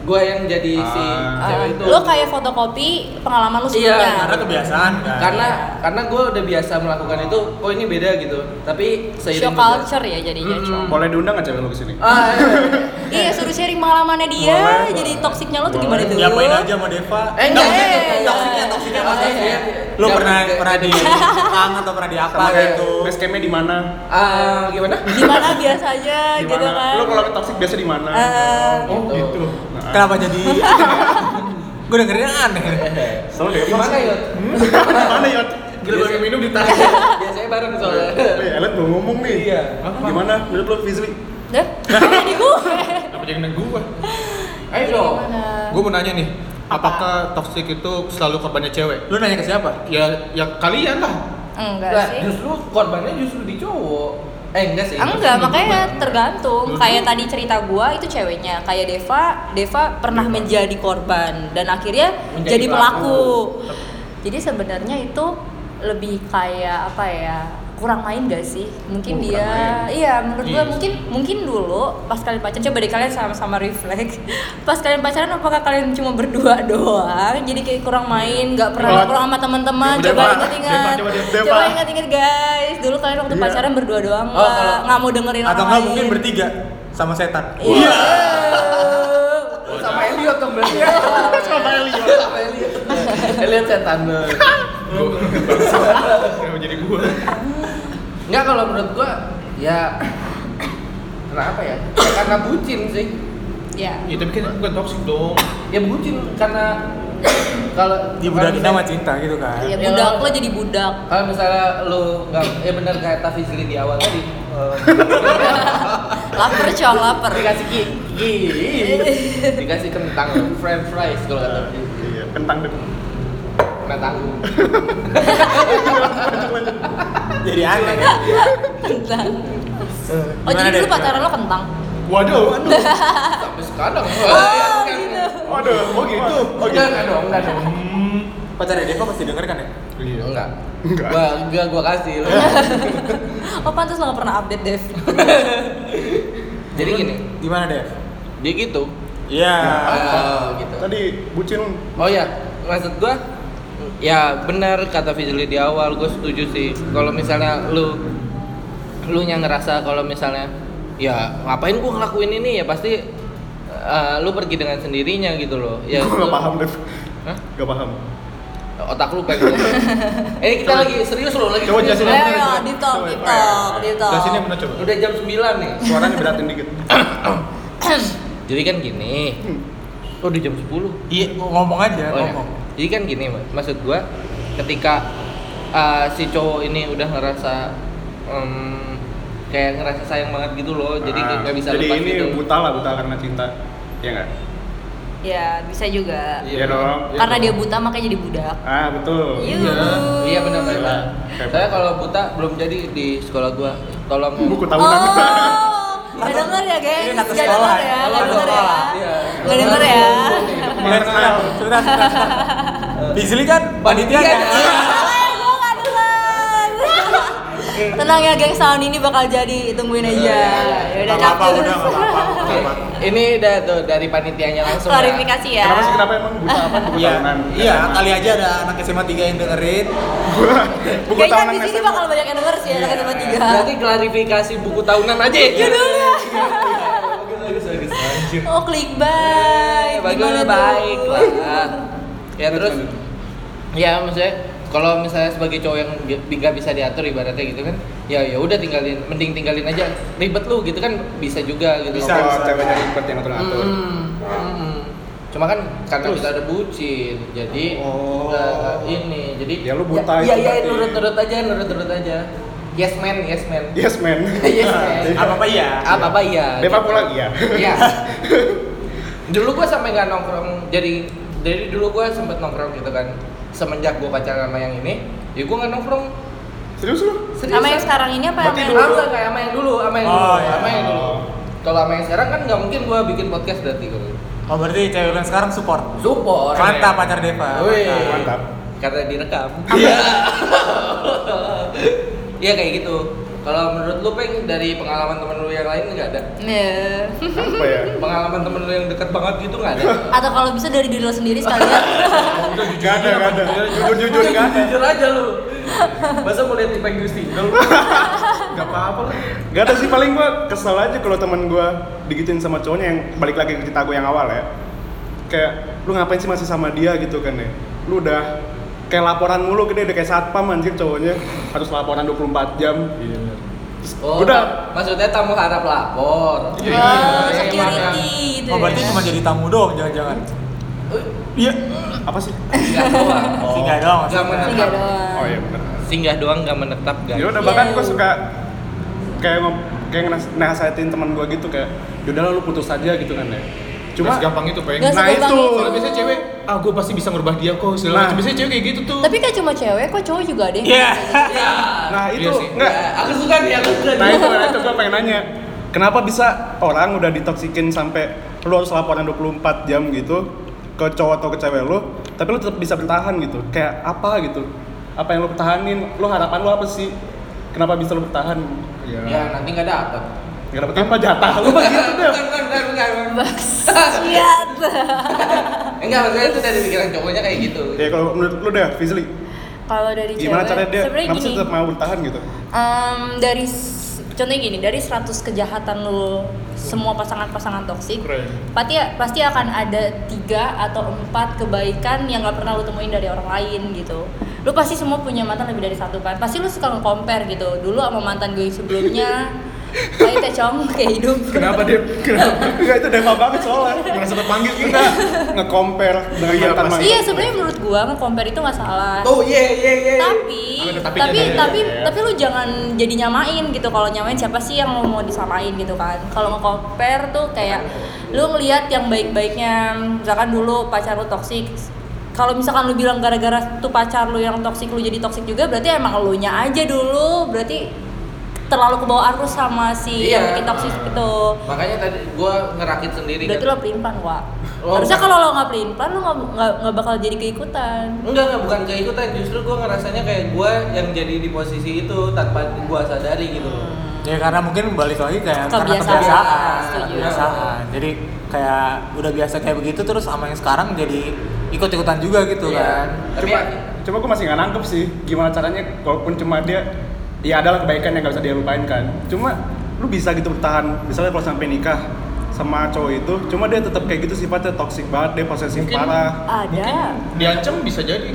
gua yang jadi si Ah. cewek itu. lo kayak fotokopi pengalaman lu Iya, sebelumnya karena kebiasaan kan karena karena gua udah biasa melakukan itu, oh ini beda gitu. Tapi show seiring berjalan- culture ya jadinya Mm-mm. Cong. Boleh diundang nggak cewek lu kesini? Ah, iya. iya suruh sharing pengalamannya dia Boleh. jadi toksiknya lo tuh Boleh. gimana tuh ya main aja sama Deva Eh, enggak, Nah, enggak, enggak, toksiknya enggak. toksiknya Enggak, maksudnya. enggak, lu enggak, pernah enggak, pernah di enggak. tangan atau pernah di apa Sama kayak gitu Oh. Base campnya di mana? Ah, gimana? gimana biasa aja Di gitu mana? kan Lu kalau toksik biasa di mana? Eh, Oh Gitu. gitu. Nah, kenapa jadi gue dengerinnya aneh Selalu deh. Gimana, Yot? Gimana ya? Gila gue minum di tas. Biasanya bareng soalnya. Eh, Elet belum ngomong nih. Iya. Hah, Gimana? Menurut lu Fizli? deh kayak di gue Apa jadi neng gua? Ayo Jadi dong. gimana? Gua mau nanya nih, apakah toxic itu selalu korbannya cewek? lu nanya ke siapa Ya, ya kalian lah. enggak Lah, Nah, sih justru korbannya justru di cowok. Eh, enggak sih. Enggak, makanya tergantung. Dulu. Kayak tadi cerita gua itu ceweknya. Kayak Deva, Deva pernah menjadi korban dan akhirnya Menjadi jadi pelaku. Jadi sebenarnya itu lebih kayak apa ya? kurang main gak sih? Mungkin Oh, kurang dia iya menurut gua Iya. mungkin mungkin dulu pas kalian pacaran coba deh kalian sama-sama reflect. Pas kalian pacaran apakah kalian cuma berdua doang? Jadi kayak kurang main, nggak Kalau- pernah nongkrong sama teman-teman. Coba, Coba Deva. ingat-ingat. Deva, coba, Deva. Coba ingat-ingat guys. Dulu kalian waktu Iya. pacaran berdua doang Oh, nggak- kalau- nggak mau dengerin atau orang enggak lain. mungkin bertiga sama setan Iya. sama Elliot dong berarti. sama Elliot. Sama Elliot. Elliot setan. Kenapa jadi gua? Enggak kalau menurut gua ya kenapa ya? Ya, karena bucin sih. Iya. Ya tapi kan bukan toxic dong. Ya bucin karena kalau di budak kalau sama misalnya- cinta gitu kan Iya, budak lo jadi budak. Kalau misalnya lu nggak ya benar kayak Tafizli di awal tadi. eh, Laper cong, laper. dikasih gigi, dikasih kentang, french fries kalau kata dia. Iya, kentang deh. Kena tanggung. jadi aneh kan? Eh, Kentang. Oh, Gimana, jadi dulu Dek? pacaran lo kentang. Waduh, waduh. Sampai sekarang. iya, Oh, gitu. Waduh, oh gitu. Oh kan? Enggak, gitu. enggak dong, enggak dong. Hmm, pacarnya Deva pasti denger kan ya Iya. Enggak. Enggak. Gua enggak gua kasih lu. Oh, pantas lo gak pernah update, Dev. Jadi gini, gimana Dev dia gitu. iya eh, gitu. Tadi bucin Oh ya, maksud gua ya benar kata Fizli di awal, gue setuju sih. Kalau misalnya lu lu yang ngerasa kalau misalnya ya ngapain gua ngelakuin ini ya pasti eh, lu pergi dengan sendirinya gitu loh. Ya Gua lu- nggak paham deh Hah? nggak paham Otak lu pengen. Ini kita lagi serius loh, lagi. Coba serius jelasin. loh. Ayo, di talk, di talk, di talk. Jelasin yang benar coba. Udah jam 9 nih. suaranya beratin dikit Jadi kan gini. Hmm. Oh, udah jam 10. iya ngomong aja Oh, iya. ngomong Jadi kan gini, Mas. maksud gua ketika uh, si cowok ini udah ngerasa em, kayak ngerasa sayang banget gitu loh, jadi kayak Ah, nggak bisa jadi lepas ini gitu. buta lah buta karena cinta ya nggak Ya, bisa juga. Iya Iya. dong Karena dia buta makanya jadi budak. ah betul Iya. Iya benar Gila. benar. Iya. Saya kalau buta belum jadi di sekolah gua. Tolong buku Oh, tahunan gak denger ya, guys. Ini Gak kata denger sekolah. ya, Ini gak kata denger ya. sekolah. Iya. Gak denger ya. Sudah, Iya. sudah, sudah, sudah. Bisli kan panitia Panitia. kan? Salah, gua nggak denger. Tenang ya geng, sound ini bakal jadi tungguin aja. Ya udah Nggak apa-apa, cakep. udah nggak apa-apa, nggak Oke, apa-apa. Ini udah tuh dari panitianya langsung. ya. Klarifikasi ya. kenapa sih kenapa emang buta apa buku Iya, tahunan iya SMA? kali aja ada anak SMA 3 yang dengerin. buku Kayaknya tahunan di sini SMA. bakal banyak yang denger sih ya, kata tiba tiga. Berarti klarifikasi buku tahunan aja. ya? Judulnya. Bagus, bagus, bagus. Lanjut. Oh, clickbait. Gimana bagus tuh? Iya, baik lah ya terus ya maksudnya kalau misalnya sebagai cowok yang bi- nggak bisa diatur ibaratnya gitu kan ya ya udah tinggalin mending tinggalin aja ribet lu gitu kan bisa juga gitu Bisa, Oh, bisa. ceweknya ribet yang atur atur Mm, mm. cuma kan karena kita ada bucin jadi Oh. udah ini jadi Ya, lu buta ya, itu ya, berarti. nurut nurut aja nurut nurut aja yes man yes man yes man Iya. Yes, man. Apa apa ya? apa apa ya Deva pulang iya Iya. dulu gua sampai nggak nongkrong jadi dari dulu gua sempet nongkrong gitu kan semenjak gua pacaran sama yang ini ya gua nggak nongkrong serius lu serius Sama yang sekarang ini apa? Berarti yang- dulu. kayak sama yang dulu sama yang Oh, dulu iya. sama yang dulu Oh. Kalau sama yang sekarang kan nggak mungkin gua bikin podcast berarti kalau gitu. Oh berarti cewek lu yang sekarang support. support. Mantap pacar Deva. Wih. mantap. Mantap. Karena direkam. Iya. Iya kayak gitu. Kalau menurut lu peng dari pengalaman temen lu yang lain nggak ada? Ya. Apa ya? Pengalaman temen lu yang dekat banget gitu nggak ada? Atau kalau bisa dari diri lo sendiri sekalian. Udah jujur ada, nggak ada. Jujur jujur Udah, kan? nggak ada. jujur aja lu masa mau lihat Ipeng Gusti lu nggak apa-apa lah Gak ada sih paling gua kesel aja kalau teman gua digituin sama cowoknya yang balik lagi ke cerita gua yang awal ya. Kayak lu ngapain sih masih sama dia gitu kan ya. Lu udah kayak laporan mulu gede udah kayak satpam anjir cowoknya harus laporan 24 jam. Oh, Udah. maksudnya tamu harap lapor. Iya. Oh, security gitu Oh berarti ya. cuma jadi tamu doang jangan-jangan. Iya. Apa sih? Singgah Oh. doang. Singgah doang, maksudnya. Nggak Tiga menetap. doang. Oh iya benar. Singgah doang nggak menetap guys. Ya udah bahkan gua suka kayak ngom kayak ngenas- nasehatin teman gua gitu kayak yaudah lah, lu putus aja gitu kan ya. Cuma Cuma gampang itu pengen. Nggak Nah, segampang itu. itu. Kalau biasanya cewek, ah gue pasti bisa ngubah dia kok. segala Nah. macam. Biasanya cewek kayak gitu tuh. Tapi kan cuma cewek, kok cowok juga ada yang Iya. Ya. nah Iya itu sih. enggak Ya, aku suka nih, aku suka Nah nih. itu, nah, itu gue pengen nanya Kenapa bisa orang udah ditoksikin sampai lu harus laporan 24 jam gitu ke cowok atau ke cewek lu, tapi lu tetap bisa bertahan gitu. Kayak apa gitu? Apa yang lu pertahanin? Lu harapan lu apa sih? Kenapa bisa lu bertahan? Iya. Ya nanti nggak dapet. Gak dapet apa jatah lu gitu deh. Bukan, bukan, bukan, bukan. Siap. Enggak, Iya. maksudnya itu dari pikiran cowoknya kayak gitu. Ya kalau menurut lu deh, Fizli, Kalau dari cewek, gimana caranya dia Iya, sebenarnya kenapa sih gini. tetap mau bertahan gitu? em, dari s- contohnya gini, dari 100 kejahatan lu semua pasangan-pasangan toksik, Keren. pasti pasti akan ada tiga atau empat kebaikan yang nggak pernah lu temuin dari orang lain gitu lu pasti semua punya mantan lebih dari satu kan pasti lu suka nge-compare gitu dulu sama mantan gue yang sebelumnya kayak tecong kayak hidup Kenapa dia? Kenapa? Enggak itu Deva banget soalnya. Merasa terpanggil kita nge-compare dengan Iya, mantan iya mantan. sebenarnya menurut gua nge-compare itu nggak salah Oh iya iya iya. tapi Ada tapi tapinya tapi ya, tapi, ya, ya. lu jangan jadi nyamain gitu kalau nyamain siapa sih yang lu mau disamain gitu kan kalau mau compare tuh kayak lu ngelihat yang baik-baiknya misalkan dulu pacar lu toksik kalau misalkan lu bilang gara-gara tuh pacar lu yang toksik lu jadi toksik juga berarti emang lu nya aja dulu berarti terlalu kebawa arus sama Iya. si yang bikin toksik itu Makanya tadi gua ngerakit sendiri. berarti kan. lo pelin pelan wa Oh. harusnya kalau lo nggak pelin pelan lo nggak- nggak nggak bakal jadi keikutan Enggak, enggak bukan keikutan, justru gua ngerasanya kayak gua yang jadi di posisi itu tanpa gua sadari gitu. Ya karena mungkin balik lagi kayak karena Kebiasaan. kebiasaan, Setuju. kebiasaan. Jadi kayak udah biasa kayak begitu terus sama yang sekarang jadi ikut-ikutan juga gitu Iya. kan. Tapi cuma cuma gue masih nggak nangkep sih gimana caranya walaupun cuma dia ya adalah kebaikan yang nggak bisa dia lupain kan cuma lu bisa gitu bertahan misalnya kalau sampai nikah sama cowok itu cuma dia tetap kayak gitu sifatnya toksik banget dia posesif Mungkin- parah ada Mungkin diancam bisa jadi.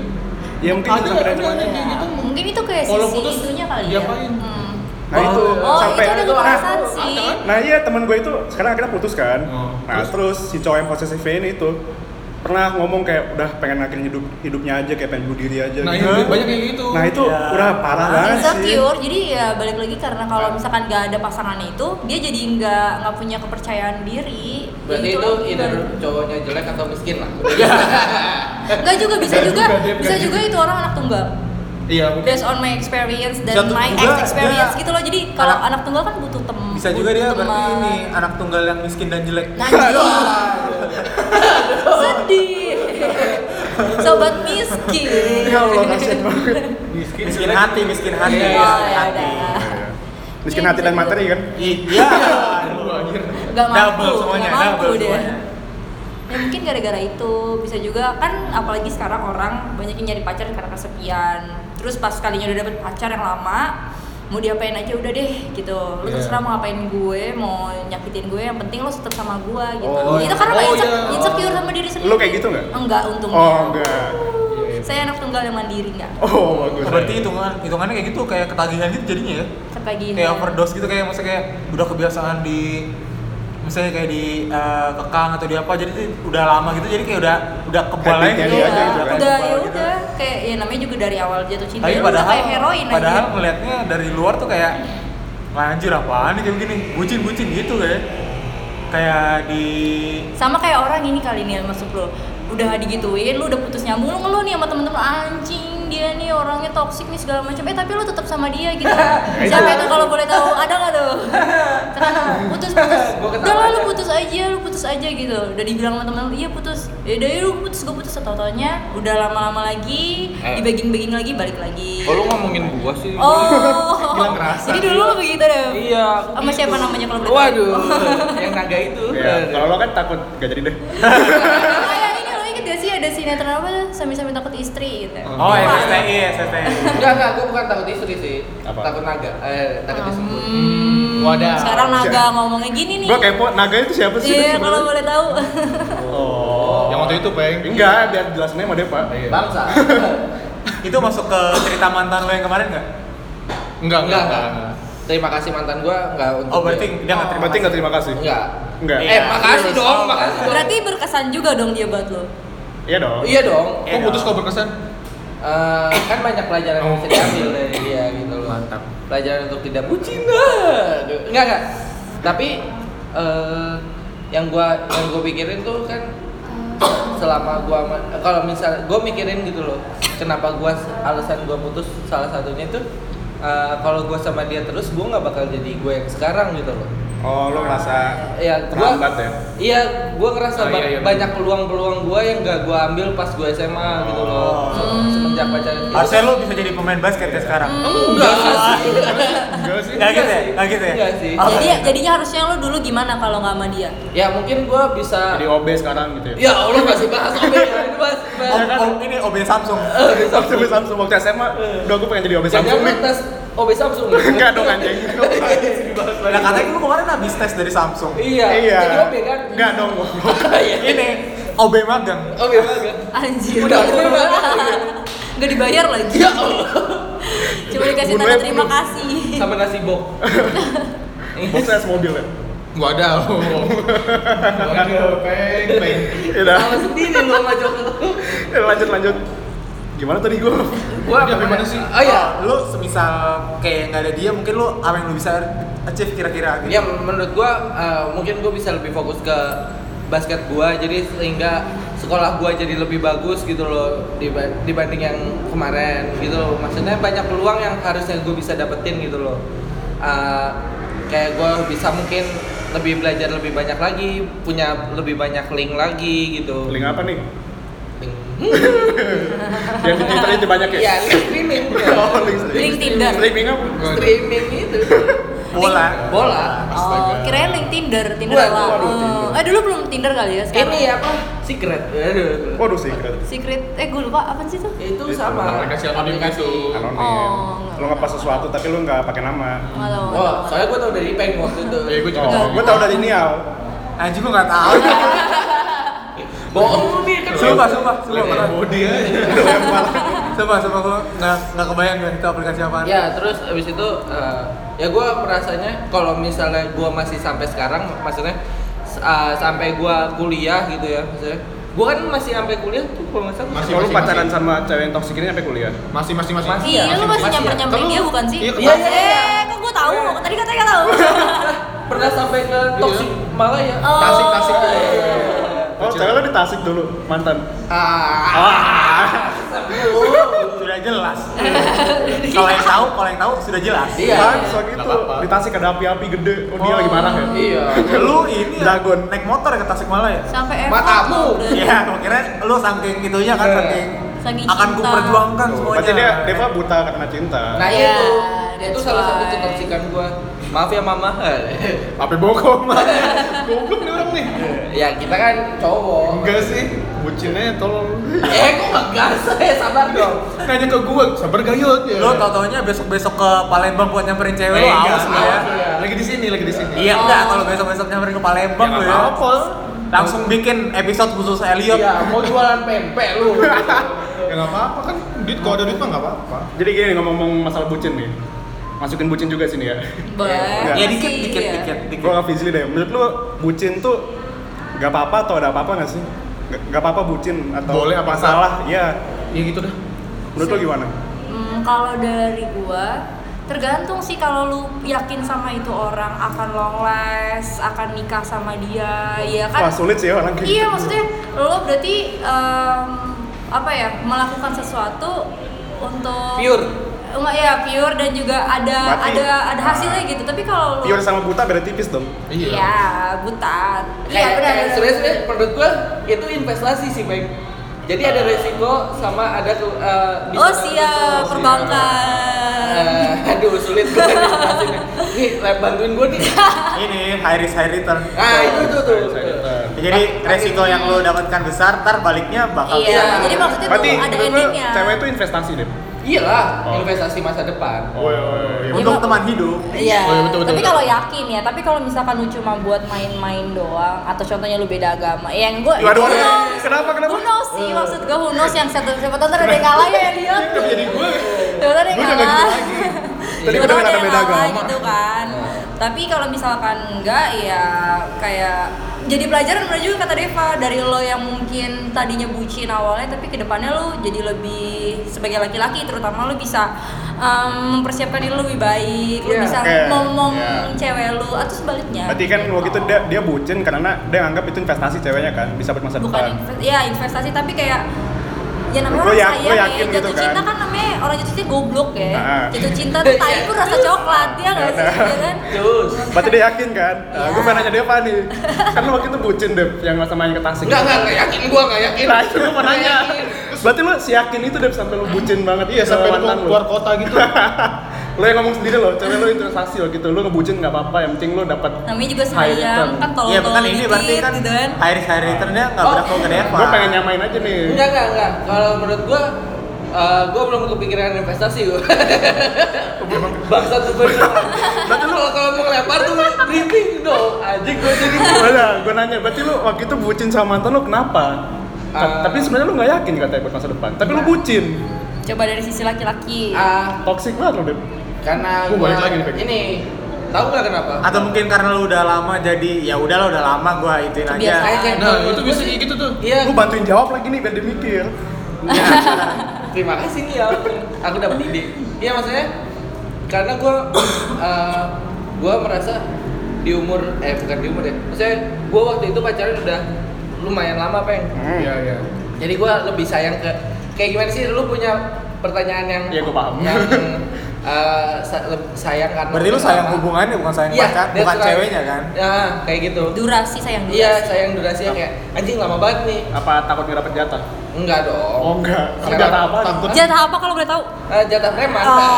ya mungkin Ada, itu sampai ada, dia ada. cuman- Kayak gitu. Oh, mungkin itu kayak Kalau sisi putus, itunya kali ya. diapain? Hmm. nah itu Oh, sampai itu ada kekerasan nah, sih. nah iya teman gue itu sekarang akhirnya putus kan Oh, nah terus? si cowok yang posesif ini itu pernah ngomong kayak udah pengen akhirin hidup hidupnya aja kayak pengen bunuh diri aja Nah, gitu itu banyak kayak gitu. nah itu Ya. udah parah banget sih Iya. Iya, Insecure, jadi ya balik lagi karena kalau misalkan gak ada pasangannya itu, dia jadi nggak nggak punya kepercayaan diri. berarti Jadi itu lagi either kan. cowoknya jelek atau miskin lah. nggak juga bisa Nggak juga, juga, dia bisa bukan juga itu orang anak tunggal. Iya, mungkin. Based on my experience dan Satu my juga ex experience dia- gitu loh. Jadi kalau anak- anak, tunggal kan butuh teman. Bisa juga dia berarti ini anak tunggal yang miskin dan jelek. Nah, iya. sedih. Sobat miskin. ya Allah kasihan banget miskin hati, miskin hati, Iya, Oh, miskin ya hati. udah. iya. miskin hati dan materi kan Iya. Oh, Gak mampu, Double semuanya, gak mampu double deh. semuanya. Ya mungkin gara-gara itu bisa juga kan apalagi sekarang orang banyak yang nyari pacar karena kesepian. Terus pas kalinya udah dapet pacar yang lama, mau diapain aja udah deh gitu. Lu Iya. terserah mau ngapain gue, mau nyakitin gue, yang penting lo tetap sama gue gitu. Oh, itu karena iya. lo Oh, inse- iya. insecure sama diri sendiri. Lu kayak gitu nggak? Enggak untungnya. oh enggak Saya anak tunggal yang mandiri enggak. oh bagus Berarti hitungan hitungannya kayak gitu kayak ketagihan gitu jadinya ya. Ketagihan. kayak overdose gitu kayak maksudnya kayak udah kebiasaan di misalnya kayak di eh, kekang atau di apa jadi tuh udah lama gitu jadi kayak udah udah kebal Happy aja jadi gitu. Iya, aja gitu kan. udah kebal ya gitu. udah kayak ya namanya juga dari awal jatuh cinta tapi ya lu udah padahal kayak heroin padahal aja. melihatnya dari luar tuh kayak "Wah, anjir apaan nih kayak begini bucin bucin gitu kayak kayak di sama kayak orang ini kali nih maksud lo udah digituin lu udah putus nyambung lu ngeluh nih sama temen-temen anjing mungkin dia nih orangnya toksik nih segala macam eh tapi lu tetap sama dia gitu siapa itu kalau boleh tahu ada nggak tuh Terus putus putus Gua ketawa udah lah lu aja. putus aja lu putus aja gitu udah dibilang sama temen lu iya putus ya udah ya lu putus gue putus atau taunya udah lama-lama lagi Eh. dibaging-baging lagi balik lagi Kalau Oh, lu ngomongin gua sih. oh Gila, ngerasa. jadi dulu lu begitu deh Iya. aku Sama gitu. siapa namanya kalau Oh. boleh tahu? Waduh, yang naga itu. Ya, kalau lo kan takut gak jadi deh. kayak ini lo inget gak sih ada sinetron apa tuh sami-sami takut istri gitu Oh, SSTI, SSTI. Enggak, enggak, gua bukan takut istri sih. Apa? Takut naga. Eh, takut Oh. disebut. Hmm, Wadah. Sekarang naga ngomongnya gini nih. Gua kepo, naga itu siapa sih? Iya, kalau boleh tahu. Oh. Yang waktu itu, Peng. Enggak, biar jelasinnya sama Deva. Bangsa. Itu masuk ke cerita mantan lo yang kemarin nggak? Enggak, enggak, Enggak, enggak. enggak. Terima kasih mantan gua enggak untuk Oh, berarti dia. dia nggak terima Berarti kasih. nggak terima kasih? enggak. Enggak. Eh, makasih Terus. dong, makasih dong. Berarti berkesan juga dong dia buat lo. Iya dong. Iya dong. Eh, Kok putus dong. kok berkesan? Eh, kan banyak pelajaran yang bisa diambil dari dia gitu loh. Mantap. Pelajaran untuk tidak bucin lah. Enggak enggak. Tapi eh, yang gua yang gua pikirin tuh kan selama gua ma- kalau misal gua mikirin gitu loh. Kenapa gua alasan gua putus salah satunya itu eh, kalau gua sama dia terus gua nggak bakal jadi gue yang sekarang gitu loh. Oh, lo ngerasa Ya, gua terlambat ya? Iya, gua Oh, ngerasa ba- iya, iya, banyak peluang-peluang gua yang gak gua ambil pas gua SMA gitu Oh. loh. Se- Semenjak pacaran. gitu. Harusnya lo bisa jadi pemain basket ya sekarang. Hmm. Enggak sih. Enggak sih. Nggak gitu ya? sih. Nggak gitu ya? Nggak sih. Oh, Iya, Jadi jadinya harusnya lo dulu gimana kalau nggak sama dia? Ya mungkin gua bisa Jadi OB sekarang gitu ya. Ya Allah masih bahas OB. Ini bahas Om, bahas. om, ini OB Samsung. Samsung Samsung waktu SMA, Iya. udah gue pengen jadi OB Samsung Jangan nih. tes OB Samsung. Enggak dong anjing. Nah, katanya lu kemarin habis tes dari Samsung. Iya. Iya. Jadi OB kan. Iya. Enggak dong. goblok. Ini OB magang. OB banget. Anjir. Udah, udah, udah. Gak dibayar lagi. Ya Allah. Cuma dikasih Bunuh tanda ya, terima bunuh. kasih. Sama nasi bok. Bosnya mobil ya. Gua ada. Waduh, Peng, Iya. Peng. Ya udah. Sama sendiri lu sama Joko. Ya, lanjut lanjut. Gimana tadi gue? Gua Dia gimana sih? Oh iya. Lu semisal kayak nggak ada dia, mungkin lu apa yang lu bisa achieve kira-kira gitu. Ya menurut gua eh, mungkin gua bisa lebih fokus ke basket gua jadi sehingga sekolah gua jadi lebih bagus gitu loh diba- dibanding yang kemarin gitu loh. Maksudnya banyak peluang yang harusnya gua bisa dapetin gitu loh. Eh, kayak gua bisa mungkin lebih belajar lebih banyak lagi, punya lebih banyak link lagi gitu. Link apa nih? Link. Yang di Twitter itu banyak ya? Iya, link streaming. Oh, link streaming. Link Tinder. Streaming apa? streaming itu. Bola. Bola. Oh, kirain link Tinder, Tinder Waduh, lah. waduh, Eh dulu belum Tinder kali ya sekarang. Ini apa? Secret. Aduh. Waduh sih, keren. Secret, eh gue lupa apa sih tuh? Ya itu Itu, sama aplikasi anonim gitu. Anonim. Oh, enggak. lo ngepas sesuatu tapi lo nggak pakai nama. Nggak tahu. nggak Wah, tahu. Oh, soalnya gue tau dari Ipeng waktu itu. Ya gua juga. Oh, gue tau dari Nial. Anjing gua nggak tahu. Bohong lu nih kan. Sumpah, sumpah, sumpah. Lihat beneran. Body aja. Sumpah, sumpah gua nggak nggak kebayang gua itu aplikasi apaan. Ya, terus abis itu eh, ya gue merasanya kalau misalnya gue masih sampai sekarang, maksudnya s- eh, sampai gue kuliah gitu ya, maksudnya gue kan masih sampai kuliah tuh kalau nggak salah. Masih, Kalau lo masih, pacaran masih. sama cewek yang toksik ini sampai kuliah? Masih, masih, masih. Masih. Iya, lu masih Masih, nyamper-nyamperin masih. dia bukan sih? Iya, iya, iya. Eh, kok gue tahu? Tadi katanya gak tahu. Pernah sampai ke Iya. toxic malah ya. Oh. Tasik, tasik. Oh, cewek lo di Tasik dulu, mantan. Ah. Sudah jelas. kalau yang tahu, kalau yang tahu sudah jelas. Iya. Bangsa gitu. Nggak apa-apa. Di Tasik ada api-api gede. Oh, dia lagi marah ya? Iya. Lu ini ya, Dagon. naik motor ke Tasikmalaya. Sampai F4 Matamu. udah. Iya, gua kira lu saking itunya kan Iya. saking Saking akan ku cinta. perjuangkan Tuh, semuanya. Berarti dia Deva buta karena cinta. Nah Iya, itu, itu that's salah satu why. ketoksikan gue. Maaf ya mama. Apa bokong mah? Goblok nih orang nih. ya kita kan cowok. Enggak sih, bucinnya tolong. Eh, kok ngegas? Eh, sabar dong. Nanya ke gua, sabar gayut ya. Lu tau-taunya besok-besok ke Palembang buat nyamperin cewek lu Eh, awas lu enggak, ya. awas. Iya, Lagi di sini, lagi di sini. Iya Oh. enggak, kalau besok-besok nyamperin ke Palembang lu ya. apa-apa. Langsung bikin episode khusus Elliot. Iya, mau jualan pempek lu. Ya nggak apa-apa kan. Duit kalau ada duit mah nggak apa-apa. Jadi gini ngomong-ngomong masalah bucin nih. Masukin bucin juga sini ya. Boleh. Ya Masih, dikit dikit iya. dikit dikit. Gua ke Fizli deh. Menurut lu bucin tuh gak apa-apa atau ada apa-apa gak sih? Gak, gak apa-apa bucin atau Boleh apa enggak? masalah? Iya. Ya gitu dah. Menurut lu gimana? Hmm, kalau dari gua tergantung sih kalau lu yakin sama itu orang akan long last, akan nikah sama dia, ya kan? Wah sulit sih ya orang kayak Iya gitu. maksudnya lo berarti em, apa ya melakukan sesuatu untuk Pure. enggak ya pure dan juga ada Berarti- ada ada hasilnya gitu tapi kalau lu Pure sama buta beda tipis dong. iya buta iya Kayak- benar kayak sebenarnya sebenarnya eh, menurut gua itu investasi sih baik jadi ada resiko sama ada tuh eh, bisa oh dapat siap untung. Iya. perbankan Eh, aduh sulit gua nih jelasinnya. nih lab bantuin gua nih ini high risk high return ah itu tuh tuh Ya, jadi resiko yang lo dapatkan besar, ntar baliknya bakal iya besar. jadi maksudnya Berarti tuh ada menurut lu endingnya cewek itu investasi deh. iyalah Oh. Iya investasi masa depan Oh, iya, iya, iya. Untuk Iya, Pak. teman hidup. Oh, Iya, iya, betul, betul, tapi betul. kalau yakin ya, tapi kalau misalkan lu cuma buat main-main doang atau contohnya lu beda agama, ya yang gue Waduh, waduh. Kenapa, kenapa? Iya, Who knows sih, maksud gue who knows yang satu siapa tahu ntar ada yang kalah ya dia Jadi gue Siapa tahu ada yang Gua udah nggak kalah gitu lagi. Tadi Siapa udah kata tahu ada Iya. yang beda kalah agama. gitu kan Iya. Tapi kalau misalkan enggak ya kayak jadi pelajaran bener juga kata Deva dari lo yang mungkin tadinya bucin awalnya tapi kedepannya lo jadi lebih sebagai laki-laki terutama lo bisa em, mempersiapkan diri lo lebih baik lo Iya. bisa Oke. ngomong Iya. cewek lo atau sebaliknya Gitu. Berarti kan waktu itu dia, dia bucin karena dia nganggap itu investasi ceweknya kan, bisa buat masa bukan depan. investasi, ya investasi tapi kayak ya namanya Lu orang yak- lu sayang yakin ya gitu jatuh kan? cinta kan namanya orang jatuh cinta goblok ya Ah. jatuh cinta tuh tai pun rasa coklat ya nggak sih ya kan terus Berarti dia yakin kan? Nah, gue Iya. pengen nanya dia apa nih? Kan lu waktu itu bucin deh yang masa main ke Tasik. enggak enggak enggak yakin gua enggak yakin Nah, itu gue mau Nggak nanya. yakin. Berarti lu si yakin itu deh sampai lu bucin banget Iya ke sampai lu mantan lu. keluar kota gitu. Lo yang ngomong sendiri loh, cewek lo investasi loh gitu. Lo ngebucin nggak apa-apa, yang penting lo dapat namanya juga High return. sayang kan tolong Iya, bukan ini dikit berarti kan gitu kan high risk high returnnya nggak Oh. berlaku ke Deva. Gue pengen nyamain aja nih. enggak enggak enggak kalau menurut gua eh, gua belum kepikiran investasi gua bangsat sebenarnya berarti lu kalau kalau mau lempar tuh briefing dong anjing gua jadi Mana? Gue nanya, berarti lu waktu itu bucin sama mantan lu kenapa? Ta- Ah. tapi sebenarnya lu nggak yakin katanya buat masa depan. Tapi lu bucin, coba dari sisi laki-laki ah toxic banget lo deh. karena Gua gua balik lagi nih, Nah, Peg. ini tahu nggak kenapa Atau mungkin karena lu udah lama jadi ya udah lah udah lama gua ituin aja. Kebiasaan. Kayak- Nah, menurut itu gua bisa sih- kayak gitu tuh. iya Gue bantuin jawab lagi nih biar dia mikir. Iya. terima kasih nih ya aku dapat ide iya maksudnya karena gue gue merasa di umur eh bukan di umur ya maksudnya gue waktu itu pacaran udah lumayan lama peng Iya iya. jadi gue lebih sayang ke kayak gimana sih lu punya pertanyaan yang Iya, gua paham. yang eh, sa- leb- sayang karena Berarti lu udah sayang lama. hubungannya bukan sayang Iya, pacar, that's bukan right. ceweknya kan? ya kayak gitu durasi sayang durasi iya sayang durasinya kayak anjing lama banget nih Apa takut nggak dapet jatah? enggak dong Oh enggak. Lu Enggak, jatah apa? takut. jatah apa kalau boleh tahu Eh, jatah preman kan? kan?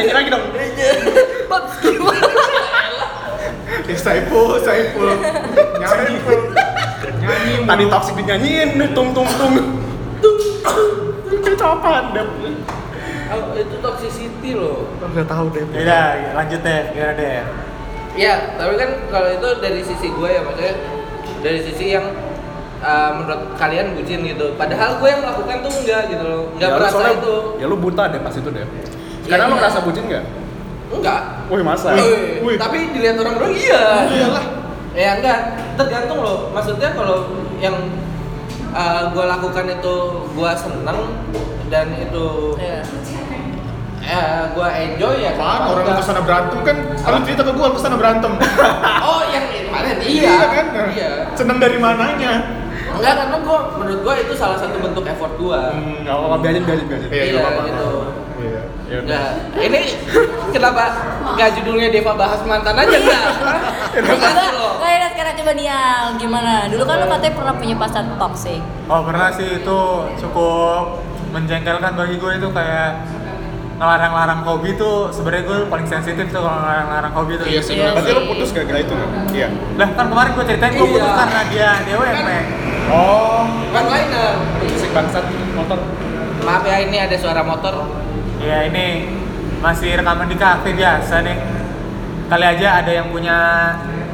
Nyanyi lagi dong. Eh, Saiful, Saiful. Nyanyi. Nyanyi. Tadi toxic dinyanyiin, nih tung tung tung. Tung. Itu apaan deh? Oh, itu toxicity loh. Gak tau deh. Ya udah, lanjut deh, gimana deh? Ya, tapi kan kalau itu dari sisi gue ya maksudnya dari sisi yang uh, menurut kalian bucin gitu. Padahal gue yang melakukan tuh enggak gitu loh. Enggak lu merasa soalnya- itu. Ya lu buta deh pas itu deh. Sekarang lu iya. ngerasa bucin nggak? Enggak. Wih masa. Eh, Tapi dilihat orang orang iya. Iyalah. Ya enggak, tergantung loh. Maksudnya kalau yang uh, gue lakukan itu gue seneng dan itu Iya. eh, gue enjoy Apaan ya. kenapa orang enggak? lu kesana berantem kan? Kalau Apa? cerita ke gua lu kesana berantem. Oh, yang kemarin iya. kan? Iya. Seneng dari mananya? Enggak, karena gua menurut gua itu salah satu bentuk effort gua. Hmm, Gak apa-apa biarin biarin biarin. Iya, nggak apa-apa. gitu. Iya. Ya udah. Nah, ini kenapa nggak judulnya Deva bahas mantan aja enggak? Terima coba kasih loh. kayak sekarang coba Nial gimana dulu kan lo katanya pernah punya pacar toxic Oh pernah sih itu cukup menjengkelkan bagi gue itu kayak ngelarang-larang hobi tuh sebenarnya gue paling sensitif tuh kalau ngelarang-larang hobi tuh. Iya sih. Iya Berarti bener. lu putus gara-gara itu nggak? Iya. Lah kan kemarin gue ceritain gue Iya. putus karena dia DWP. Oh. Bukan liner. Musik bangsat motor. Kan nah. Maaf ya ini ada suara motor. Ya ini masih rekaman di kafe biasa nih. Kali aja ada yang punya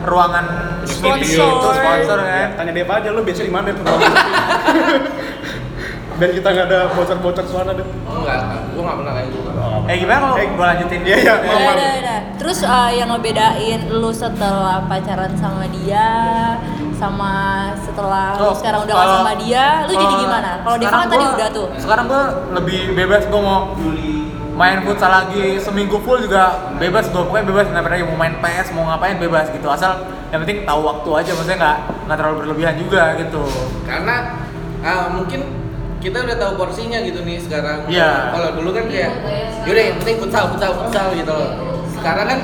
ruangan Sponsor. meeting gitu, sponsor Ya, kan. tanya Deva aja lu biasanya di mana Dev? Biar kita nggak ada bocor-bocor suara deh. Oh, enggak, gua enggak pernah kayak gitu. Eh gimana kalau Eh, gue lanjutin? iya, iya, Udah, udah, udah. Terus eh, yang ngebedain lu setelah pacaran sama dia sama setelah lu Oh, sekarang udah gak kalau- sama dia, lu jadi kalau gimana? Kalau Deva sekarang kan tadi gua- udah tuh. Sekarang gue lebih bebas gue mau main futsal lagi seminggu full juga bebas gue pokoknya bebas nggak pernah mau main PS mau ngapain bebas gitu asal yang penting tahu waktu aja maksudnya nggak nggak terlalu berlebihan juga gitu Karena ah, mungkin kita udah tahu porsinya gitu nih sekarang. Iya. Kalau dulu kan kayak yaudah yang penting futsal, futsal, futsal gitu loh. Sekarang kan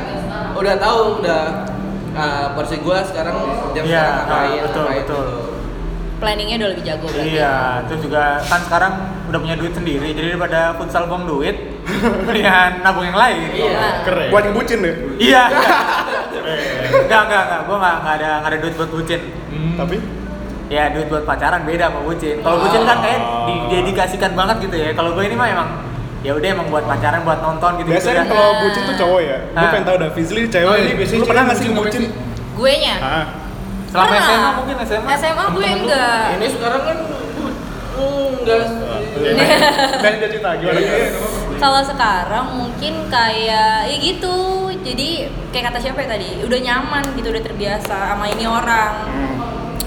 udah tahu udah ah, porsi gua sekarang jam Iya, sekarang ngapain, ah, betul, ngapain betul. gitu. Planningnya udah lebih jago berarti. Iya, terus juga kan sekarang udah punya duit sendiri, jadi daripada futsal buang duit, mendingan nabung yang Nah, lain. Iya. Keren. Buat yang bucin deh. Iya. Enggak, enggak, enggak. Gue enggak, enggak ada, enggak ada duit buat bucin. Hmm. Tapi Ya, duit buat pacaran beda sama bucin. Kalau bucin kan kayak Oh. didedikasikan banget gitu ya. Kalau gue ini mah emang ya udah emang buat pacaran, buat nonton gitu gitu ya. biasanya kan kalau bucin tuh cowok ya. Gue Ah. pengen tahu dah Fizli cewek. Oh, ini ini biasanya Lu pernah cewek nggak sih bucin, bucin? Gue nya? Ah. Selama Pernah. SMA mungkin SMA. SMA gue enggak. Ini sekarang kan uh, enggak Dan dia cerita gimana? Kalau sekarang mungkin kayak ya gitu. Jadi kayak kata siapa ya tadi, udah nyaman gitu, udah terbiasa sama ini orang.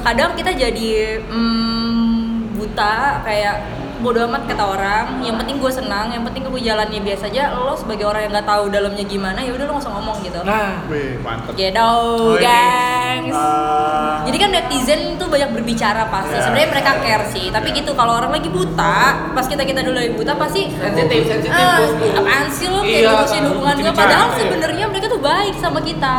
Kadang kita jadi mm, buta kayak bodo amat kata orang. Yang penting gue senang, yang penting gue jalannya biasa aja. Lo sebagai orang yang nggak tahu dalamnya gimana, ya udah lo nggak usah ngomong gitu. Nah, Wih, mantep. Gedo, Oh, ini, gengs. Ah. eh, Jadi kan netizen tuh banyak berbicara pasti. Ya. Sebenarnya mereka care sih, tapi gitu kalau orang lagi buta, pas kita kita dulu lagi buta pasti sensitif, sensitif Ah, bosku. apaan sih lo kayak Iya, ngurusin kan, hubungan bikin gue padahal bicara, iya. sebenarnya mereka tuh baik sama kita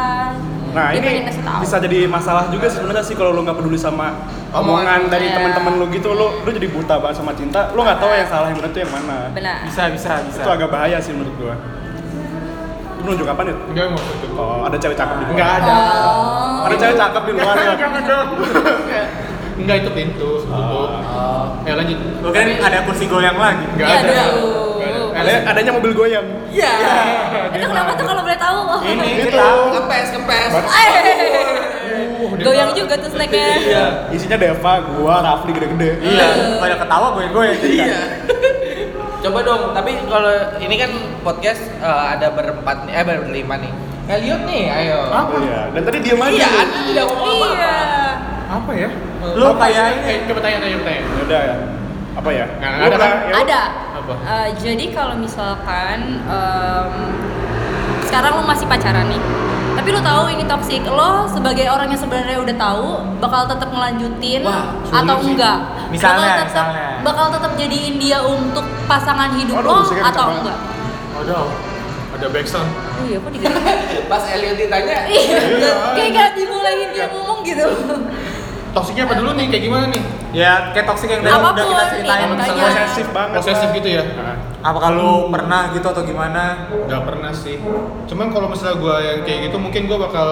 Nah Dia ini pengen ngasih tahu. bisa jadi masalah juga sebenarnya sih kalau lu nggak peduli sama omongan dari Iya. teman-teman lu gitu, lu lu jadi buta banget sama cinta, lu nggak tahu yang salah yang benar itu yang mana. benar bisa bisa bisa. Itu agak bahaya sih menurut gua. Lu nunjuk kapan ya? Enggak mau tutup. Oh, ada cewek cakep di luar. Enggak ada. oh, Ada cewek cakep di luar ya. Jangan dong. Enggak itu pintu, tutup. Ya lanjut. Gue kan ada kursi goyang lagi. Enggak Iya, ada. aduh. Nggak ada. Ada adanya mobil goyang. iya itu kenapa tuh kalau boleh tahu oh. Ini Itu kita kempes, kempes. Uh, Eh, goyang juga tuh Iya. snacknya isinya Deva, gua, Rafli gede-gede. Iya, pada ketawa gue gitu kan. gue. Iya. Coba dong, tapi kalau ini kan podcast eh, ada berempat nih, eh berlima nih. Elliot nih, ayo. Iya, dan tadi diam aja. Iya, lu. Anda tidak ngomong apa-apa. iya Apa ya? Lu kayak ini. Eh, coba tanya tanya tanya. Ya Udah ya. Apa ya? Nggak, Lu nggak ada pernah- kan? ya lu- ada Apa? Eh, jadi kalau misalkan em, sekarang lo masih pacaran nih tapi lo tahu ini toxic lo sebagai orang yang sebenarnya udah tahu bakal tetap ngelanjutin Wah, atau enggak Misalnya, bakal tetap misalnya. bakal tetap jadiin dia untuk pasangan hidup Waduh, lo musiknya kencang atau banget. enggak Waduh. Ada backsound. oh iya kok digerak Pas Elliot ditanya, iya kayak gak dimulain dia ngomong gitu Toksiknya apa dulu nih? Kayak gimana nih? Ya, kayak toxic yang tadi udah Apapun, kita ceritain. iya, makanya. Posesif banget. Posesif gitu ya? Nah. Apakah lu pernah gitu atau gimana? Gak pernah sih. Cuman kalau misalnya gue yang kayak gitu, mungkin gue bakal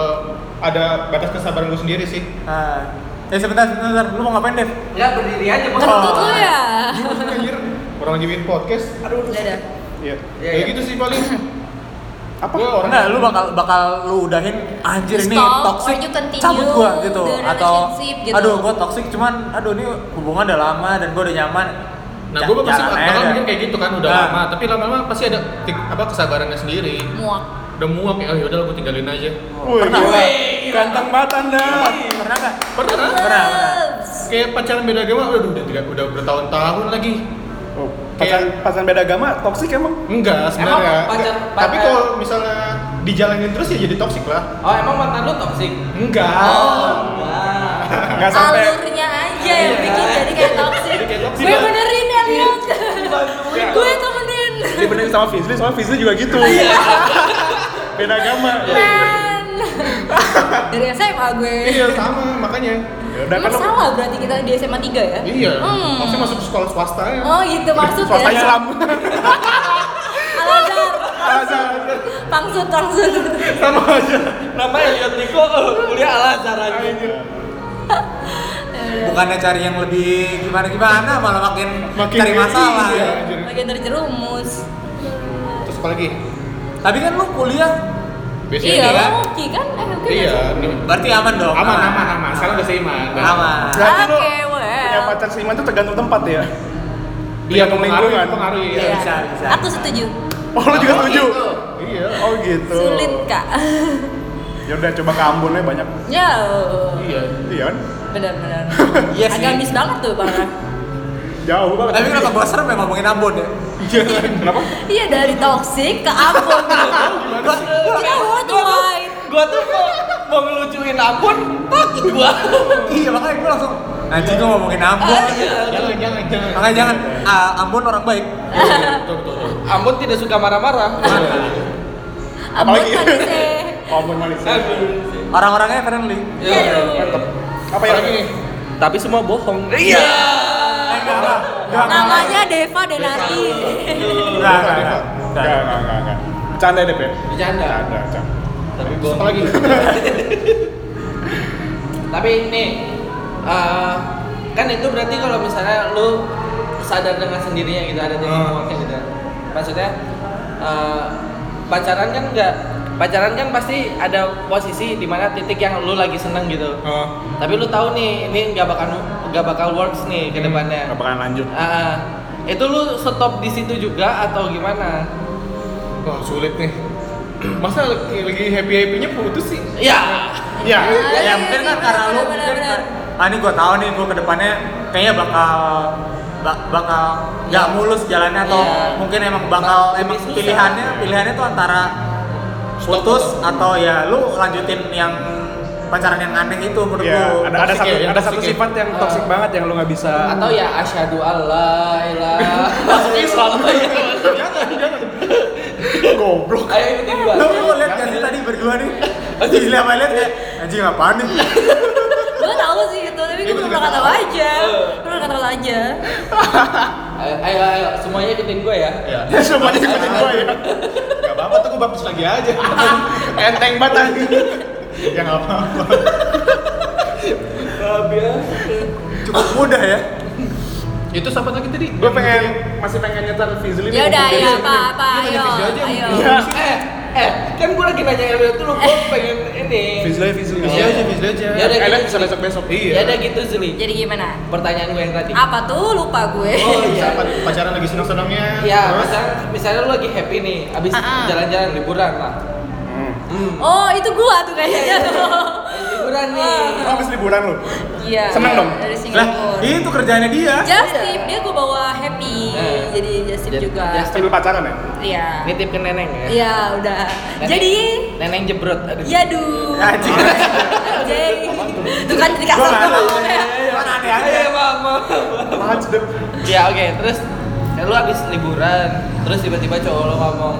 ada batas kesabaran gue sendiri sih. Nah, eh sebentar, sebentar, sebentar. Lu mau ngapain, Dev? enggak berdiri aja bos. Iya, kentut lo ya Anjir, orang lagi bikin podcast. dadah Iya. Iya, Kayak iya. gitu sih paling. Apa? Gue orang Enggak, Nah, lu bakal bakal lu udahin anjir ini Stop, toxic. or you continue Cabut gua gitu the atau relationship gitu. aduh gua toxic cuman aduh ini hubungan udah lama dan gua udah nyaman. Nah, gue bakal Jalan aja bakal dah. mungkin kayak gitu kan udah Nah. lama, tapi lama-lama pasti ada tik- apa kesabarannya sendiri. muak Udah muak ya, oh, yaudah gue tinggalin aja. Wih, Pernah. gila. Wih, Ganteng banget Anda. Pernah enggak? Pernah? kan? Pernah. Kayak pacaran beda agama, aduh udah tiga, udah bertahun-tahun lagi. Oh, pacaran, pacaran beda agama toksik emang? Enggak sebenarnya. Emang pacar- Nggak, Tapi pacar- kalau misalnya dijalanin terus ya jadi toksik lah. Oh, emang mantan lu toksik? Enggak. Wah. Nggak sampai. alurnya aja yang bikin jadi kayak toxic Jadi kayak toxic. gue benerin ya lihat Iya. gue temenin Dibenerin sama Fizli, soalnya Fizli juga gitu. Iya. beda agama. Nah. men dari SMA gue Iya sama, makanya. Ya udah kan Emang lu salah berarti kita di SMA 3 ya? Iya. Hmm. Maksudnya masuk sekolah swasta ya. Oh gitu maksudnya swasta Islam. Al-Azhar Pangsut, pangsut Sama aja. Nama Elliot Niko eh, kuliah ala caranya. Bukannya cari yang lebih gimana-gimana malah makin, Makin cari gitu masalah. iya, anjir. Bagian terjerumus Terus apa lagi? Tapi kan lu kuliah Biasanya Iya, dia- lo Oki kan? Eh, Oki Iya. kan? berarti aman dong. Aman, aman, aman. Sekarang udah seiman. Aman. Berarti lu Oke, well. punya pacar seiman tuh tergantung tempat ya? Iya, Tergantung pengaruh, lingkungan. pengaruh ya. Iya. bisa, bisa. Aku setuju Oh, lu juga Oh, setuju? gitu. Iya. Oh gitu. Sulit kak Ya udah coba ke Ambonnya banyak. Ya Iya. Iya kan? Benar-benar Iya sih. Agamis banget tuh parah Jauh banget. Tapi kenapa gua serem ya ngomongin Ambon ya? Iya. Kenapa? Iya dari toxic ke Ambon Gua- Kita worldwide Gua tuh mau, mau ngelucuin akun, takut gua. Iya makanya gue langsung Nanti gue ngomongin Ambon. Jangan, jangan, jangan. Makanya jangan, ah, Ambon orang baik. Ambon tidak suka marah-marah. Ambon Apalagi? Manise. Omong Oh, Malaysia. Orang-orangnya friendly. Iya. Aduh. Apa ya? yang lagi nih? Tapi semua bohong. Iya. Eh, enggak, enggak. Enggak, Namanya Deva enggak, Denari. enggak, enggak. Enggak, enggak, enggak, enggak. Bercanda deh, Pep. Bercanda. Bercanda, bercanda. Tapi Terus bohong. Apa lagi? Tapi nih eh, kan itu berarti kalau misalnya lu sadar dengan sendirinya gitu ada jadi Ah. kayak gitu. Maksudnya eh, pacaran kan enggak pacaran kan pasti ada posisi di mana titik yang lu lagi seneng gitu. Oh, Tapi lu tahu nih ini nggak bakal nggak bakal works nih Hmm. ke depannya. nggak bakalan lanjut. Ah, itu lu stop di situ juga atau gimana? Wah, sulit nih. Masa lagi lagi happy-happynya putus sih? Ya. Iya. Ya, ya mungkin kan karena lu Benar, mungkin benar, ah ini gue tahu nih gue kedepannya kayaknya bakal ba- bakal nggak mulus jalannya atau Iya. mungkin emang bakal Lebih emang susah. pilihannya pilihannya tuh antara putus atau ya lu lanjutin yang pacaran yang aneh itu menurut Iya, gua. ada ada Toxic satu ya, yang ada satu toxic ya. sifat yang toksik banget yang lu nggak bisa. Atau ya asyhadu alla ilaha Iya. Masuk Islam. Goblok. Ayo ikutin gua. Lu lu lihat kan tadi berdua nih. Anjing lihat lihat kayak anjing apaan nih? Gue tahu sih itu, tapi gue belum pernah tahu aja. Belum pernah tahu aja. Ayo, ayo, ayo, semuanya ikutin gua ya. Ya semuanya ikutin gua ya. Gak Iya. apa-apa tuh, gue bapus lagi aja. Enteng banget. anjing. ya gak apa-apa. Cukup mudah ya. Itu siapa lagi tadi? Gua pengen masih pengen nyetar Fizli. Ya udah ya, apa apa Ini ayo. video aja, Ayo. Iya. Eh, eh, kan gua lagi nanya Elio tuh lu gua pengen ini. Fizli, Fizli. Bisa aja, bisa aja. Ya udah Kalian gitu. bisa besok besok. Ya udah gitu Zuli. Jadi gimana? Pertanyaan gua yang tadi. Apa tuh lupa gue? Oh iya. Siapa? Pacaran lagi seneng-senengnya. Iya, terus misalnya, misalnya lu lagi happy nih, abis Ah-ah. jalan-jalan liburan lah. Hmm. Oh, itu gua tuh kayaknya tuh. Liburan nih. Lu Ah. habis liburan lu. Iya. Seneng dong? Lah, Dari iya. Singapura. itu kerjaannya dia. Justip, dia gue bawa happy, Eh. jadi Justip Jadi- juga. Justip. Sambil pacaran ya? Iya. Nitip ke neneng ya. Iya, udah. Neneng- Jadi, neneng jebrot. Aduh. Iya, yaduh. Anjing. Anjing. Tuh kan jadi kasar Gua nggak tuh. tahu. Kan aneh aja. Eh, maaf, maaf. Apaan sih, Dep? Ya oke, terus ya, lu habis liburan, terus tiba-tiba cowok lu ngomong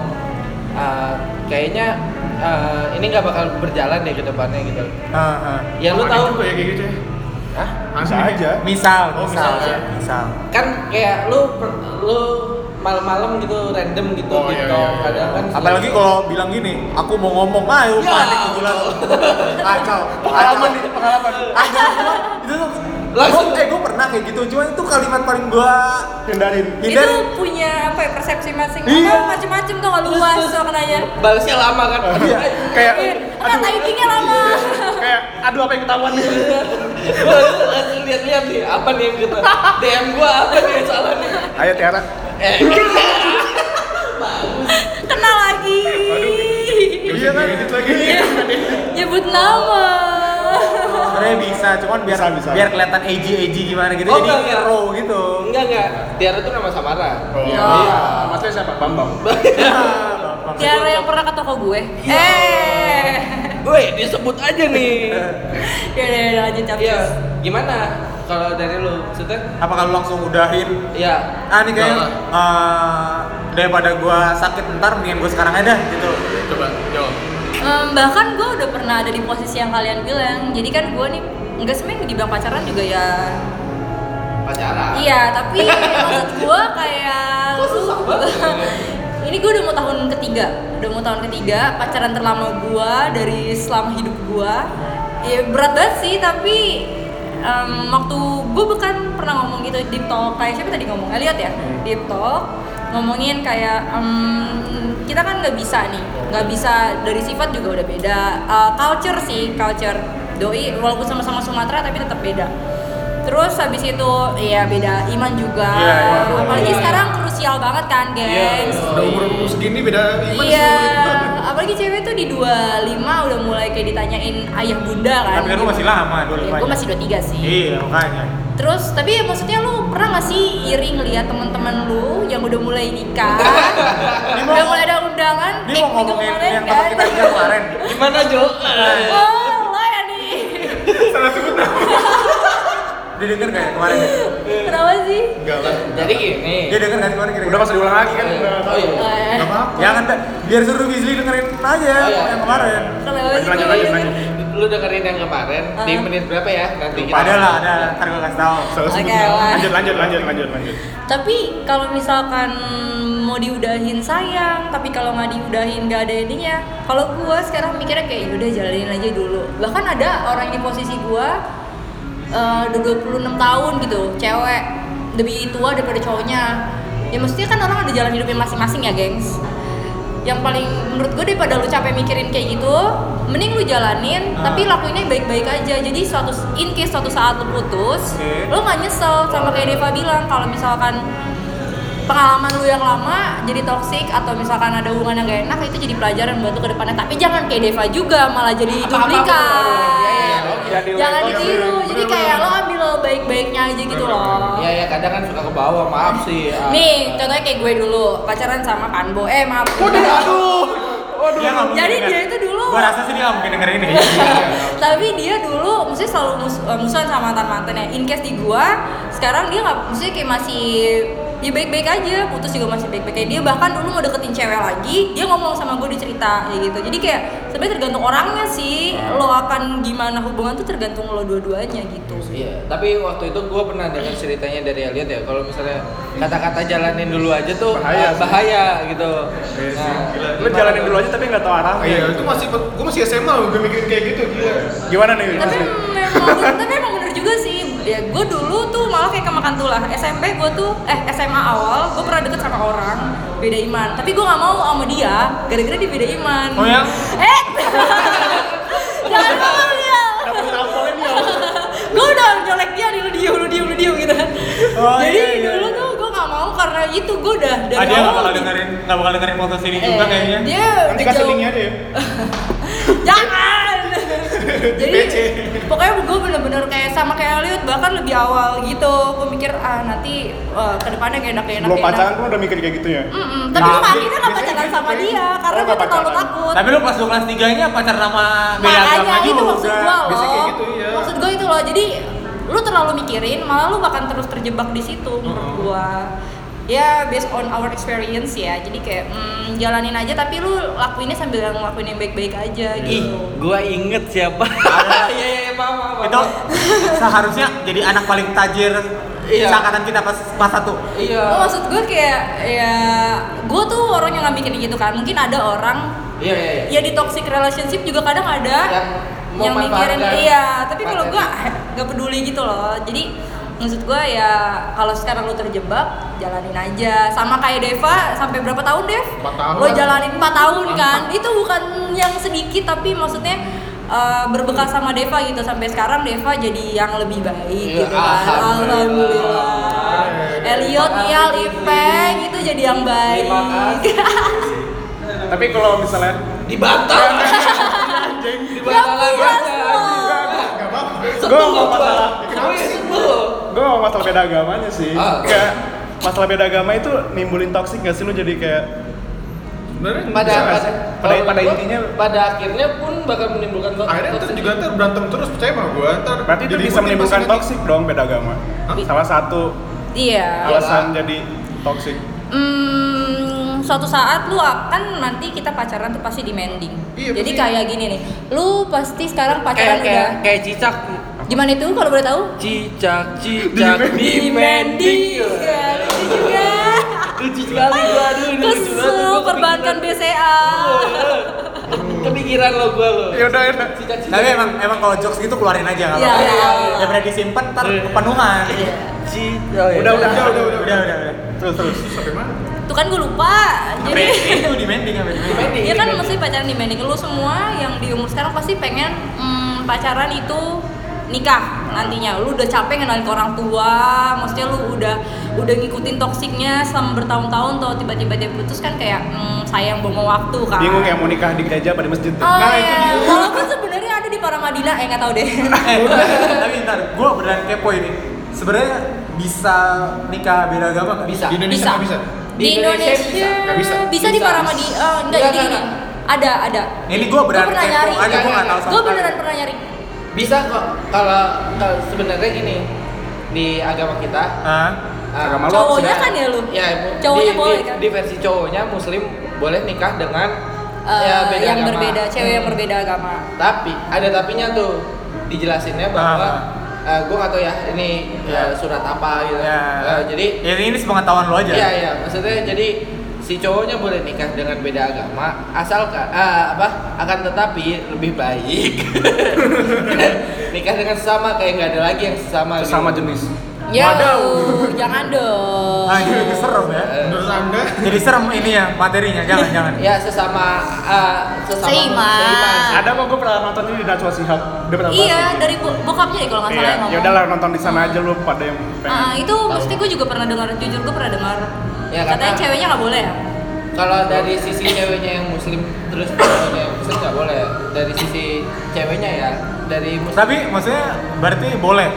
"Ah, kayaknya ah, ini nggak bakal berjalan deh ke depannya gitu. Ah, ah. Yang lu Aneh tahu juga ya kayak gitu ya. Hah? Bisa aja. Misal, Oh, misal, misalnya. misal. kan kayak lu per- lu malam-malam gitu random gitu Oh, iya, gitu. iya, iya. Kadang kan Apalagi kalau bilang gini, aku mau ngomong, ayo Ya. panik kebetulan. Kacau. Pengalaman nih, pengalaman. Ada itu tuh. Langsung. Gua- eh gue pernah kayak gitu, cuman itu kalimat paling gua Hindarin. Itu hindari. punya apa ya, persepsi masing-masing. Iya. Apa, Macem-macem tuh nggak luas Terus, terus. soalnya. balasnya lama kan. Iya, kayak Kan timingnya lama. kayak aduh apa yang ketahuan nih. Gua langsung lihat-lihat nih apa nih yang gitu. DM gua apa nih yang salah nih. Ayo Tiara. Eh, Kenal lagi. Iya kan? Gitu lagi. Nyebut nama. Sebenarnya bisa, cuman biar Bisa, bisa. biar kelihatan edgy edgy gimana gitu, Oh, jadi enggak, enggak. pro gitu. enggak enggak. Tiara tuh nama samaran. Oh. Iya. Maksudnya siapa? Bambang. Ah, Tiara yang pernah ke toko gue. Eh. Weh, disebut aja nih. Ya udah, udah, lanjut Iya, capcus. gimana kalau dari lu? Maksudnya, Apa kalau langsung udahin? ya. Ah ini kayaknya eh, daripada gua sakit ntar, mendingan gua sekarang aja dah, gitu. Coba, jawab. Em, bahkan gue udah pernah ada di posisi yang kalian bilang jadi kan gue nih nggak sebenarnya dibilang pacaran juga ya pacaran. iya tapi maksud gue kayak susah banget ini? ini gue udah mau tahun ketiga udah mau tahun ketiga pacaran terlama gue dari selama hidup gue ya berat banget sih tapi em, waktu gue bukan pernah ngomong gitu di talk kayak siapa tadi ngomong Elliot ya Hmm. di talk ngomongin kayak em, kita kan nggak bisa nih nggak bisa dari sifat juga udah beda Eh, culture sih culture doi walaupun sama-sama Sumatera tapi tetap beda terus habis itu ya beda iman juga Iya, iya. apalagi sekarang krusial banget kan gengs Udah umur-umur segini beda iman sih, Iya, sulit banget. apalagi cewek tuh di 25 udah mulai kayak ditanyain ayah bunda kan. Tapi kan lu masih lama, dua Ya, lima. gue masih 23 sih. Iya makanya. Terus tapi ya maksudnya lu pernah gak sih iri ngeliat teman-teman lu yang udah mulai nikah? udah mulai ada undangan. eh, Ini mau minggu ngomongin kemarin kan? yang teman kita yang kemarin. Iya. Gimana, Jo? Eh, Oh, lo ya nih. Salah sebut Dia denger kayak kemarin. ya? Kenapa sih? Enggak lah. Jadi gini. Dia denger nggak sih kemarin kira-kira? Udah masuk diulang lagi kan? Iya. Udah. Oh iya. Eh, Enggak apa-apa. Jangan Dek. biar suruh Bisli dengerin aja Oh, Iya. yang kemarin. Kenapa sih? ya? Lanjut, lanjut, lanjut. Lu dengerin yang kemarin di Ah. menit berapa ya? Nanti kita. Ada lah, ada. Ntar gue kasih tau. Salah Oke, sebutnya. lah. Lanjut, lanjut, lanjut, lanjut, lanjut. Tapi kalau misalkan mau diudahin sayang, tapi kalau nggak diudahin nggak ada ininya. Kalau gua sekarang mikirnya kayak "Ya udah jalanin aja dulu. Bahkan ada orang di posisi gua eh, udah 26 tahun gitu, cewek lebih tua daripada cowoknya. Ya mestinya kan orang ada jalan hidupnya masing-masing ya, gengs. Yang paling menurut gue daripada lu capek mikirin kayak gitu, mending lu jalanin, Ah. tapi lakuinnya baik-baik aja. Jadi suatu in case suatu saat lu putus, Oke. lu nggak nyesel sama kayak Deva bilang kalau misalkan pengalaman lu yang lama jadi toxic atau misalkan ada hubungan yang gak enak itu jadi pelajaran buat lu ke depannya tapi jangan kayak Deva juga malah jadi duplikat jangan ditiru jadi kayak lo ambil lo baik-baiknya aja gitu loh Iya ya kadang kan suka ke bawah, maaf sih. Ah. nih contohnya kayak gue dulu pacaran sama Panbo eh maaf Dia nggak mungkin Jadi denger. dia itu dulu- Iya. Gua rasa sih dia nggak mungkin denger ini. tapi dia dulu mesti selalu mus- eh, musuhan sama mantan mantannya in case di gua sekarang dia nggak mesti kayak masih dia baik-baik aja putus juga masih baik-baik aja dia bahkan dulu mau deketin cewek lagi dia ngomong sama gue dicerita ya gitu jadi kayak sebenarnya tergantung orangnya sih Nah. lo akan gimana hubungan tuh tergantung lo dua-duanya gitu Iya, tapi waktu itu gue pernah dengar ceritanya dari Elliot ya, kalau misalnya kata-kata jalanin dulu aja tuh Bahaya bahaya, sih. bahaya gitu. Nah, Iya sih, gila. Lu jalanin dulu aja tapi nggak tahu arahnya. Ah, Iya, itu masih gua masih SMA loh gue mikirin kayak gitu gila. Gimana nih? tapi memang tapi emang bener juga sih ya gue dulu tuh malah kayak kemakan tulah SMP gue tuh eh SMA awal gue pernah deket sama orang beda iman tapi gue nggak mau sama dia gara-gara dia beda iman Oh ya? eh jangan ngomong dia gue udah nyolek dia nih lu diem lu diem lu diem gitu Oh, jadi iya, iya. dulu tuh gue nggak mau karena itu gue udah dari Ah, dia nggak awal bakal di- dengerin, nggak bakal dengerin podcast ini eh, juga kayaknya. dia Nanti udah kasih jauh- linknya ya. deh. jangan PC. jadi pokoknya gue bener-bener kayak sama kayak Elliot bahkan lebih awal gitu gue mikir ah nanti eh, kedepannya gak enak gak enak Belum gak enak. pacaran pun udah mikir kayak gitu ya. Mm-mm, tapi Nah, ya. gue akhirnya gak biasanya pacaran gitu sama kan. dia karena Oh, gue nggak tuh terlalu pacaran. takut Tapi lu pas lu kelas 3 nya pacar sama beda agama makanya itu juga. maksud gue loh Biasanya kayak gitu, iya. maksud gue itu loh jadi lu terlalu mikirin malah lu bahkan terus terjebak di situ menurut gue ya based on our experience ya jadi kayak mm, jalanin aja tapi lu lakuinnya sambil ngelakuin yang baik-baik aja Ih, gitu gue inget siapa. Iya iya maaf maaf. maaf. Itu seharusnya jadi anak paling tajir Iya. seangkatan kita pas pas satu. Iya. Oh, maksud gue kayak ya gue tuh orang yang nggak mikirin gitu kan mungkin ada orang Iya iya. iya. ya di toxic relationship juga kadang ada Yang yang mikirin memanfaatkan. iya tapi kalau gue Manfaatkan. nggak peduli gitu loh jadi maksud gue ya kalau sekarang lu terjebak jalanin aja sama kayak Deva sampai berapa tahun Dev? Empat tahun. lo jalanin 4 tahun kan itu bukan yang sedikit tapi maksudnya eh, berbekas sama Deva gitu sampai sekarang Deva jadi yang lebih baik Iya, gitu kan alhamdulillah. alhamdulillah Elliot, Nial, Ipeng itu jadi yang baik. Terima kasih. Tapi kalau misalnya Dibantah. Gak Dibantah lagi. puas gue nggak masalah, Gue ya sebel. gue nggak masalah beda agamanya sih. Ah, oke. Kayak masalah beda agama itu nimbulin toksik gak sih lu jadi kayak Sebenarnya pada Bisa nggak pada, sih? Pada- kalau pada gua, intinya- pada akhirnya pun bakal menimbulkan konflik akhirnya ntar juga ntar berantem terus percaya sama gua ntar berarti itu jadi bisa ikutin menimbulkan pasti nanti. toksik dong beda agama. Hah? Salah satu Iya. alasan jadi toksik. Hmm, suatu saat lu akan nanti kita pacaran tuh pasti demanding. Iya, jadi pasti. kayak gini nih, lu pasti sekarang kayak pacaran kayak udah. kayak cicak Gimana itu kalau boleh tahu? cicak cicak demanding. Ya, lucu juga. Lucu sekali gua aduh ini lucu banget. Kesel Gua perbankan kepikiran. BCA. Kepikiran lo gua lo. Ya udah, ya udah. Cicak cicak. Tapi emang emang kalau jokes gitu keluarin aja nggak Iya, apa-apa. iya, iya. Daripada disimpan ntar Hmm. kepenuhan. Cicak. Oh, iya. Udah, udah, udah, udah, Udah udah udah. Terus, terus. sampai mana Tuh kan gue lupa. Tapi Jadi itu demanding apa demanding? Demanding, Iya kan demanding. mesti pacaran demanding lu semua yang di umur sekarang pasti pengen mm, pacaran itu nikah nantinya lu udah capek kenalin ke orang tua maksudnya lu udah udah ngikutin toksiknya selama bertahun-tahun tuh tiba-tiba dia putus kan kayak mm, sayang buang waktu kan Bingung "Nah, ya mau nikah di gereja apa di masjid? oh iya walaupun sebenarnya ada di Paramadina eh nggak tahu deh Eh, tapi ntar gue beneran kepo ini. Sebenarnya bisa nikah beda agama nggak? Bisa. di Indonesia nggak bisa di Indonesia bisa, Nggak bisa. di Bisa. Paramadina oh, enggak Nggak, jadi nggak, gini ada ada Ini gue gue beneran pernah kepo nyari aja gue nggak tahu sama gue sekali. beneran pernah nyari bisa kok kalau kalau sebenarnya gini di agama kita Hah? Ah, Agama lu Cowoknya sudah- kan ya lu? Ya, bu- Cowoknya di, boleh di- kan? Di versi cowoknya muslim boleh nikah dengan Eh, ya, beda yang agama. Hmm. berbeda, cewek yang berbeda agama. Tapi ada tapinya tuh dijelasinnya bahwa Ah. gue gak tau ya ini Ya. eh, surat apa gitu. Ya. Eh, jadi Ya, ini sepengetahuan lo aja. Iya iya, maksudnya jadi si cowoknya boleh nikah dengan beda agama asalkan ah, apa akan tetapi lebih baik nikah dengan sama kayak nggak ada lagi yang gitu. sama Kan sesama jenis Ya, Waduh. jangan dong. Ah, ini serem ya. Menurut anda? Jadi serem ini ya materinya, jangan jangan. ya sesama ah, sesama Seiman. ada kok gue pernah nonton ini di Najwa Shihab dia pernah Ah. Iya, bahas ini. dari bo- bokapnya deh kalau nggak salah iya yang ngomong. ya udahlah nonton di sana aja lu pada yang Ah, pengen itu mesti gue juga pernah dengar, jujur gue pernah dengar. Ya, Katanya karena- ceweknya nggak boleh ya? kalau dari sisi ceweknya yang muslim terus cowoknya yang muslim nggak boleh dari sisi ceweknya ya dari muslim Tapi maksudnya berarti boleh.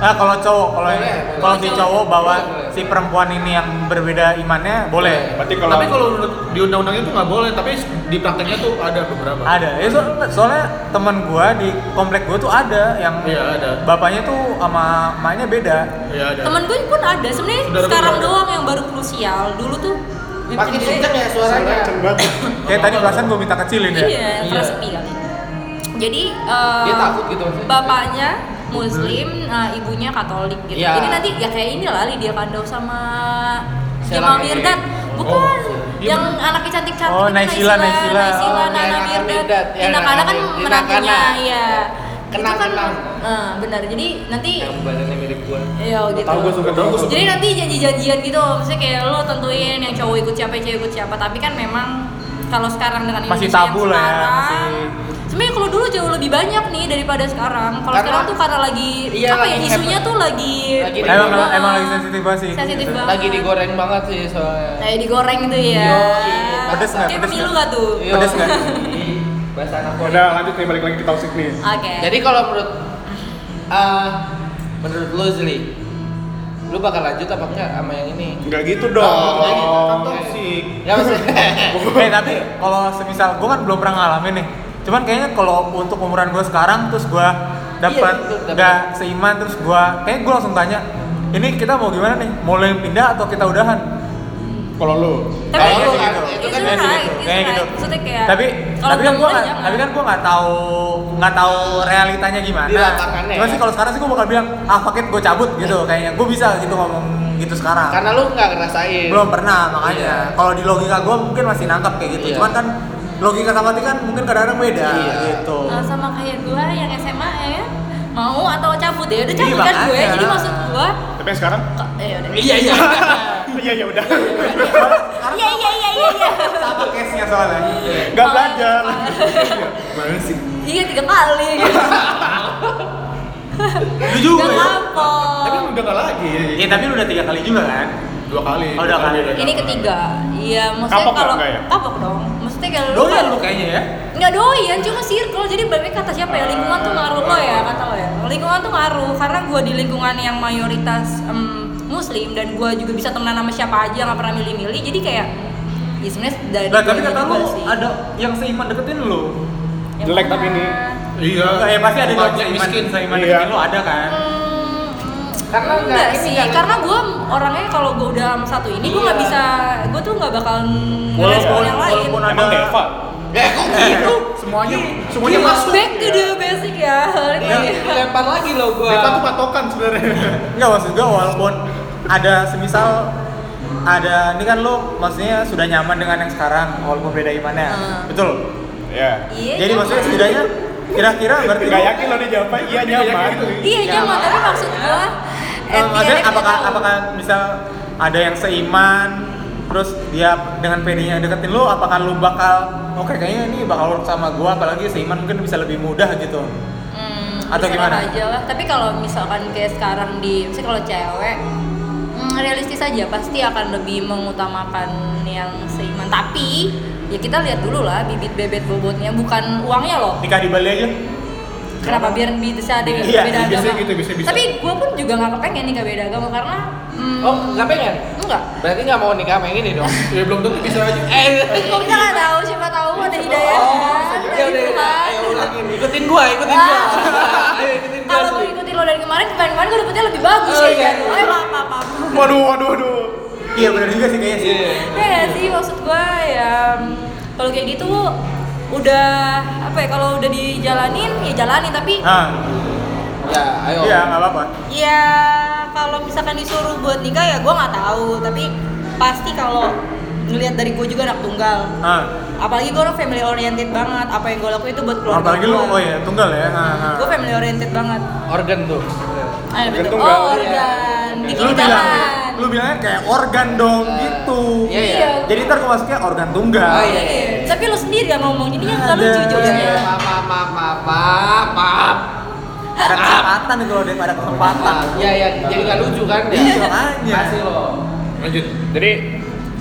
Ah kalau cowok, kalau Boleh, boleh. kalau si cowok bawa Boleh. si perempuan ini yang berbeda imannya boleh. berarti kalau Tapi kalau menurut di undang-undangnya tuh nggak boleh, tapi di prakteknya tuh ada beberapa. Ada. Ya, so- soalnya teman gua di komplek gua tuh ada yang Iya ada. bapaknya tuh sama emaknya beda. Iya ada. Temen gue pun ada, sebenarnya Saudara gue sekarang juga ada. doang yang baru krusial. Dulu tuh makin kenceng ya suaranya Kayak tadi perasaan gua minta kecilin ya. Iya, Iya. keras sepi kali. Jadi eh, Dia takut gitu maksudnya. Bapaknya Muslim, eh, ibunya Katolik gitu. Iya. Jadi nanti ya kayak inilah Lydia Kandau sama Sheila Jamal Mirdad. Mirdad. Bukan. Oh, iya yang anaknya cantik-cantik Oh, itu Naysila, Naysila. Naysila, Oh, Nana Nana Mirdad. Mirdad. Ya, Inakana kan Inakana. menantunya, iya. Kenang, itu kan kenang. eh, benar. Jadi nanti yang badannya mirip gua Iya gitu. tahu gue suka dong Jadi nanti janji-janjian gitu, maksudnya kayak lo tentuin yang cowok ikut siapa, yang cewek ikut siapa. Tapi kan memang kalau sekarang dengan Masih Indonesia yang tabu lah ya, sekarang, masih- Sebenarnya kalau dulu jauh lebih banyak nih daripada sekarang. Kalau Karena- sekarang tuh karena lagi Iya, apa ya lagi isunya tuh lagi Lagi di- Emang Banget. emang lagi sensitif banget sih. Sensitif banget. lagi digoreng banget sih soalnya Kayak digoreng tuh ya. Yoi, pedes nggak, Kayak pedes pemilu nggak? gak tuh? Yo, Pedes nggak? ih, bahasa anak Ya Korea. udah lanjut nih balik lagi ke toxic nih Oke. Jadi kalau menurut eh, menurut lu Zli, lu bakal lanjut apa enggak sama yang ini? Enggak gitu Oh, enggak gitu. dong. Kan Toxic. Ya maksudnya. Eh tapi kalau semisal gue kan belum pernah ngalamin nih. Cuman kayaknya kalau untuk umuran gue sekarang terus gue dapat Iya, betul, dapat. nggak seiman terus gue kayak gue langsung tanya ini kita mau gimana nih? Mau lo yang pindah atau kita udahan? Kalau lu Tapi Kayaknya Kalau sih lu gitu. kan- itu kan Kayaknya sih right, gitu. it's Kayaknya right. gitu. Iya, Maksudnya kayak- Tapi kalau tapi kan belum gue boleh nggak jangan. tapi kan gue nggak tahu nggak tahu realitanya gimana. Di lapangannya Cuman ya. sih kalau sekarang sih gue bakal bilang ah paket gue cabut Iya. gitu kayaknya gue bisa gitu ngomong gitu sekarang. Karena lu nggak ngerasain. belum pernah makanya Iya. kalau di logika gue mungkin masih nangkep kayak gitu Iya. cuman kan logika sama hati kan mungkin kadang-kadang beda Iya. gitu Nah, sama kayak gua yang SMA ya mau atau cabut ya udah Iya, cabut kan gue makanya. jadi maksud gua Tapi yang sekarang? eh, udah. Iya iya. Iya ya udah. iya iya iya iya iya sama case nya soalnya Enggak belajar. Banget sih. Iya tiga kali. jujur Gak ya apa. Tapi udah nggak lagi. Iya, tapi lu udah tiga kali juga kan Dua kali. Oh, dua kali. Ini ketiga. Iya, maksudnya Kapok nggak, kalau nggak ya? kapok dong. Maksudnya kalau doyan lu kayaknya ya Nggak doyan, cuma circle. Jadi balik kata siapa ya? Lingkungan tuh ngaruh lo ya, kata lo ya. Lingkungan tuh ngaruh karena gue di lingkungan yang mayoritas em, muslim dan gue juga bisa temenan sama siapa aja nggak pernah milih-milih. Jadi kayak ya sebenarnya dari nah, tapi guanya kata juga lu sih. ada yang seiman deketin lu Yang Jelek tapi mana? ini. Iya. ya pasti ada yang Banyak seiman miskin. seiman Iya. deketin lu ada kan Hmm, Karena nggak- enggak ini sih, nggak- karena gue orangnya kalau gue udah sama satu ini gue nggak Iya. bisa, gue tuh nggak bakal Walaupun- ngerespon yang lain. walaupun Emang ada- Deva. Ya kok Iya. gitu? Semuanya semuanya Semuanya masuk. Back to the basic ya. Oke. Ini dilempar lagi lo gua. Kita tuh Kan patokan sebenarnya. Enggak maksud gue walaupun ada semisal ada ini kan lu maksudnya sudah nyaman dengan yang sekarang walaupun beda imannya Hmm. betul Iya. Iya. jadi nyaman. maksudnya setidaknya kira-kira berarti Enggak lu- yakin lo dijawabnya iya nyaman. Iya nyaman, tapi maksud gua Eh, at the maksudnya end dia apakah tahu. apakah misal ada yang seiman terus dia dengan pedenya deketin lu apakah lu bakal oke kayaknya ini bakal work sama gua apalagi seiman mungkin bisa lebih mudah gitu Hmm, Atau bisa gimana? aja lah. Tapi kalau misalkan kayak sekarang di, misalnya kalau cewek hmm, realistis aja pasti akan lebih mengutamakan yang seiman. Tapi ya kita lihat dulu lah bibit bebet bobotnya bukan uangnya loh. nikah di Bali aja Kenapa biar bisa ada yang Iya, beda bisa agama? gitu, bisa, bisa. Tapi gua pun juga nggak kepengen nikah beda agama karena hmm, Oh nggak pengen? enggak. Berarti nggak mau nikah sama yang ini dong. Ya belum tentu bisa aja. Oh, Eh. Kok kita nggak tahu siapa tahu ada hidayah Oh, kan ya dari iya, udah, Tuhan. Ah. ayo ulangin. Ikutin gua, ikutin gua. Ayo ikutin gua. kalau gue ngikutin lo dari kemarin, kemarin-kemarin gue dapetnya lebih bagus Oh, ya iya. kan? Oh, iya, maaf, maaf, maaf. Waduh, waduh, waduh. Iya benar juga sih kayaknya sih. Iya. Ya nggak sih, maksud gue ya kalau kayak gitu udah apa ya kalau udah dijalanin ya jalanin tapi Nah, Ya, ayo. iya nggak apa-apa. ya kalau misalkan disuruh buat nikah ya gue nggak tahu tapi pasti kalau ngelihat dari gue juga anak tunggal Nah, apalagi gue orang family oriented banget apa yang gue lakuin itu buat keluarga apalagi lu, gua. oh ya tunggal ya. Nah, nah. gue family oriented banget Organ tuh. ada Organ betul tunggal, oh iya. organ di Ah, Lu kiri bilang, kanan lu bilangnya kayak organ dong gitu. Iya, iya. Iya. Jadi ntar gua masuknya organ tunggal. Oh, iya. Iya. tapi lu sendiri yang ngomong jadinya nggak Ada. lucu ya. jokesnya Iya. Maaf, maaf, maaf, maaf, maaf, maaf. Ada kesempatan itu loh, Dek, ada kesempatan. Iya, iya. Jadi nggak lucu kan ya? Iya, makanya. Kasih lo. Lanjut. Jadi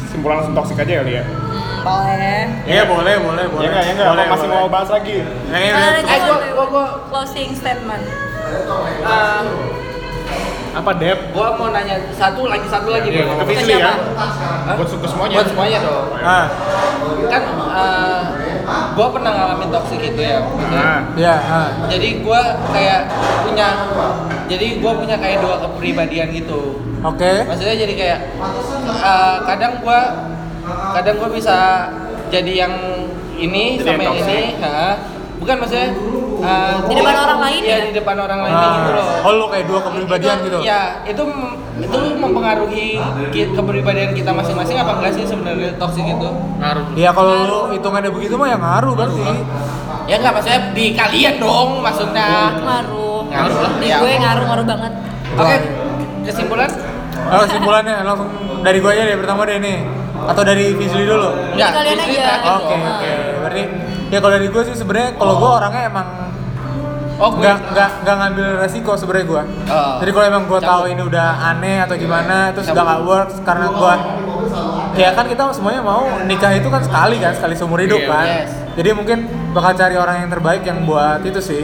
simpulan langsung toksik aja kali ya. Hmm, boleh Iya boleh, boleh, boleh. Iya enggak, ya enggak. Boleh, Masih boleh. mau bahas lagi. Eh, Eh, eh, Eh, gua, gua, gua, closing statement. eh, Apa Dep? gua mau nanya satu lagi satu lagi Iya, dong. ke Fitri ya. Buat suku semuanya. Buat semuanya dong. Ah, Kan eh, gua pernah ngalamin toksik gitu ya. maksudnya. Nah, iya, ah. Jadi gua kayak punya jadi gua punya kayak dua kepribadian gitu. Oke. maksudnya jadi kayak eh, kadang gua kadang gua bisa jadi yang ini Jadi sama yang yang ini ha. bukan maksudnya eh, Di depan orang lain iya, ya? di depan orang lain gitu loh Ah. Oh, lu kayak dua kepribadian Itu- gitu. ya itu mem- itu mempengaruhi ki- kepribadian kita masing-masing apa enggak sih sebenarnya toksik itu Ngaruh. Iya kalau lu hitungannya begitu mah ya ngaruh berarti. ya enggak maksudnya di kalian dong maksudnya Ngaruh. Ngaruh lah, Di iya. gue ngaruh ngaruh banget. oke kesimpulan Oh, simpulannya langsung dari gua aja deh pertama deh nih. Atau dari Fizli dulu. Enggak, gitu. kalian Fitri aja. terakhir Oke, dong. oke. Berarti ya kalau dari gua sih sebenarnya kalau gua orangnya emang oh gue nggak nggak nggak ngambil resiko sebenarnya gua. Oh. Jadi kalau emang gua tahu Cabut. Iya. ini udah aneh atau gimana terus udah Cabut. nggak works karena gua ya kan kita semuanya mau nikah itu kan sekali kan sekali seumur hidup Iya, kan. yes. Jadi mungkin bakal cari orang yang terbaik yang buat itu sih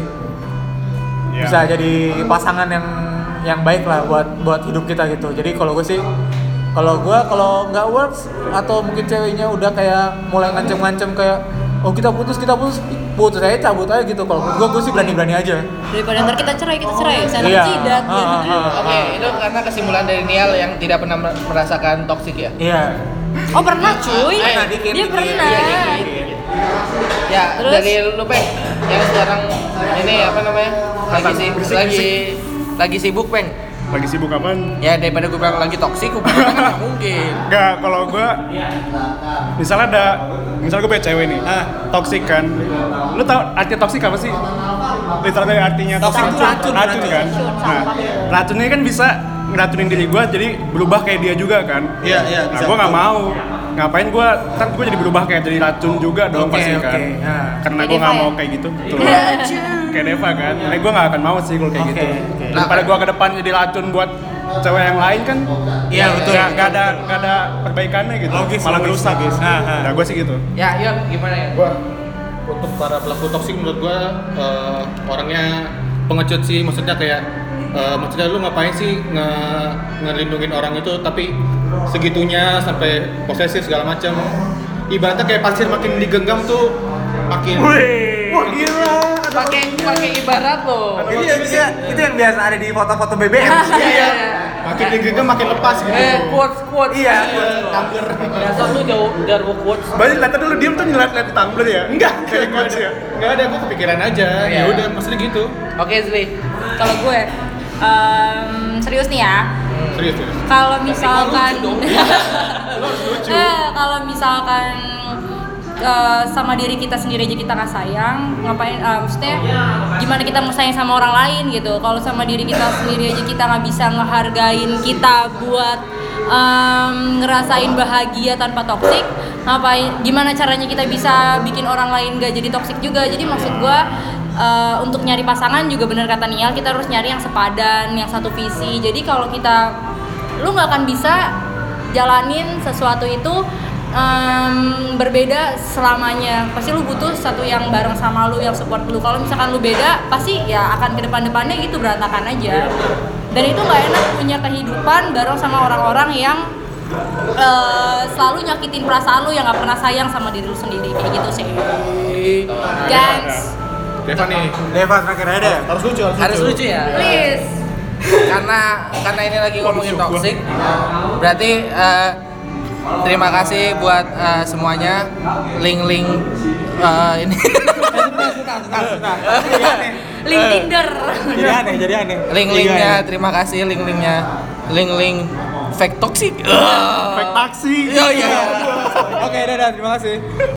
Iya. bisa jadi pasangan yang yang baik lah buat buat hidup kita gitu jadi kalau gue sih kalau gue kalau nggak works atau mungkin ceweknya udah kayak mulai ngancem-ngancem kayak oh kita putus kita putus putus aja cabut aja gitu kalau gue gue sih berani-berani aja Daripada ntar kita cerai, kita cerai. Sana Iya. jidat. gitu kan. Ah, ah, ah, Oke, ah. itu karena kesimpulan dari Nial yang tidak pernah mer- merasakan toksik ya. iya Oh pernah Iya, cuy. Pernah, dikit, Dia dikit. pernah. Iya, iya, Ya, Terus? dari lu Peng, yang sekarang ini apa namanya? Lagi sih lagi lagi sibuk Peng. Lagi sibuk apaan? Ya daripada gue bilang lagi toksik, gue bilang kan nggak mungkin. Enggak, kalau gua misalnya ada misalnya gue punya cewek nih, ah, toksik kan. Lu tau arti toksik apa sih? Literally artinya Toxic toksik itu racun, racun racun. kan. Nah, racunnya kan bisa ngeracunin diri gua jadi berubah kayak dia juga kan. Iya, iya, Nah, bisa. gua nggak mau. Ngapain gua ntar gua jadi berubah kayak jadi racun juga dong Oke, pasti oke, nah. kan. Karena Kayak gua nggak Deva mau ya? kayak gitu. Betul. kayak Deva kan. Nah, gua nggak akan mau sih kalau kayak Iya. Oke, gitu. oke. Daripada gua ke depan jadi racun buat cewek yang lain kan iya betul Nggak, nggak ada nggak ada perbaikannya gitu. Logis, Malah logis, ngerusak. logis. Nah, Nah, nah. gue sih gitu. Ya, iya gimana ya? gua untuk para pelaku toksik menurut gua eh, orangnya pengecut sih maksudnya kayak eh, maksudnya lu ngapain sih nge ngelindungin orang itu tapi segitunya sampai posesif segala macam ibaratnya kayak pasir makin digenggam tuh makin Oh, wah iya. gila Pakai pakai ibarat lo. itu yang bisa itu yang biasa ada di foto-foto BBM Iya. makin digenggam makin lepas gitu Eh, quotes quotes. Iya. tumbler. Dasar lu jauh dari quotes. Banyak lihat dulu diem tuh ngeliat-liat tumbler ya. Enggak, kayak gue sih ya. nggak ada gua kepikiran aja Iya. Hmm. ya udah maksudnya gitu Oke, Zri. Kalau gue em, serius nih ya. serius serius Kalau Tapi nggak misalkan lucu Eh, kalau misalkan eh, sama diri kita sendiri aja kita nggak sayang, ngapain? eh, maksudnya gimana kita mau sayang sama orang lain gitu? Kalau sama diri kita sendiri aja kita nggak bisa ngehargain kita buat em, ngerasain bahagia tanpa toksik, ngapain? Gimana caranya kita bisa bikin orang lain gak jadi toksik juga? Jadi maksud gua eh, untuk nyari pasangan juga bener kata Nial kita harus nyari yang sepadan, yang satu visi. Jadi kalau kita lu nggak akan bisa jalanin sesuatu itu em, berbeda selamanya pasti lu butuh satu yang bareng sama lu yang support lu kalau misalkan lu beda pasti ya akan ke depan depannya gitu berantakan aja dan itu nggak enak punya kehidupan bareng sama orang-orang yang eh, selalu nyakitin perasaan lu yang nggak pernah sayang sama diri lu sendiri kayak gitu sih guys Deva nih. Deva terakhir aja deh. Harus lucu, harus, Harus lucu ya? Please. karena karena ini lagi ngomongin toxic berarti eh, terima kasih buat eh, semuanya link-link eh, ini Link Tinder. Jadi aneh, jadi aneh. link-linknya terima kasih link-linknya link-link fake toxic fake taksi. iya iya Oke, dadah, terima kasih.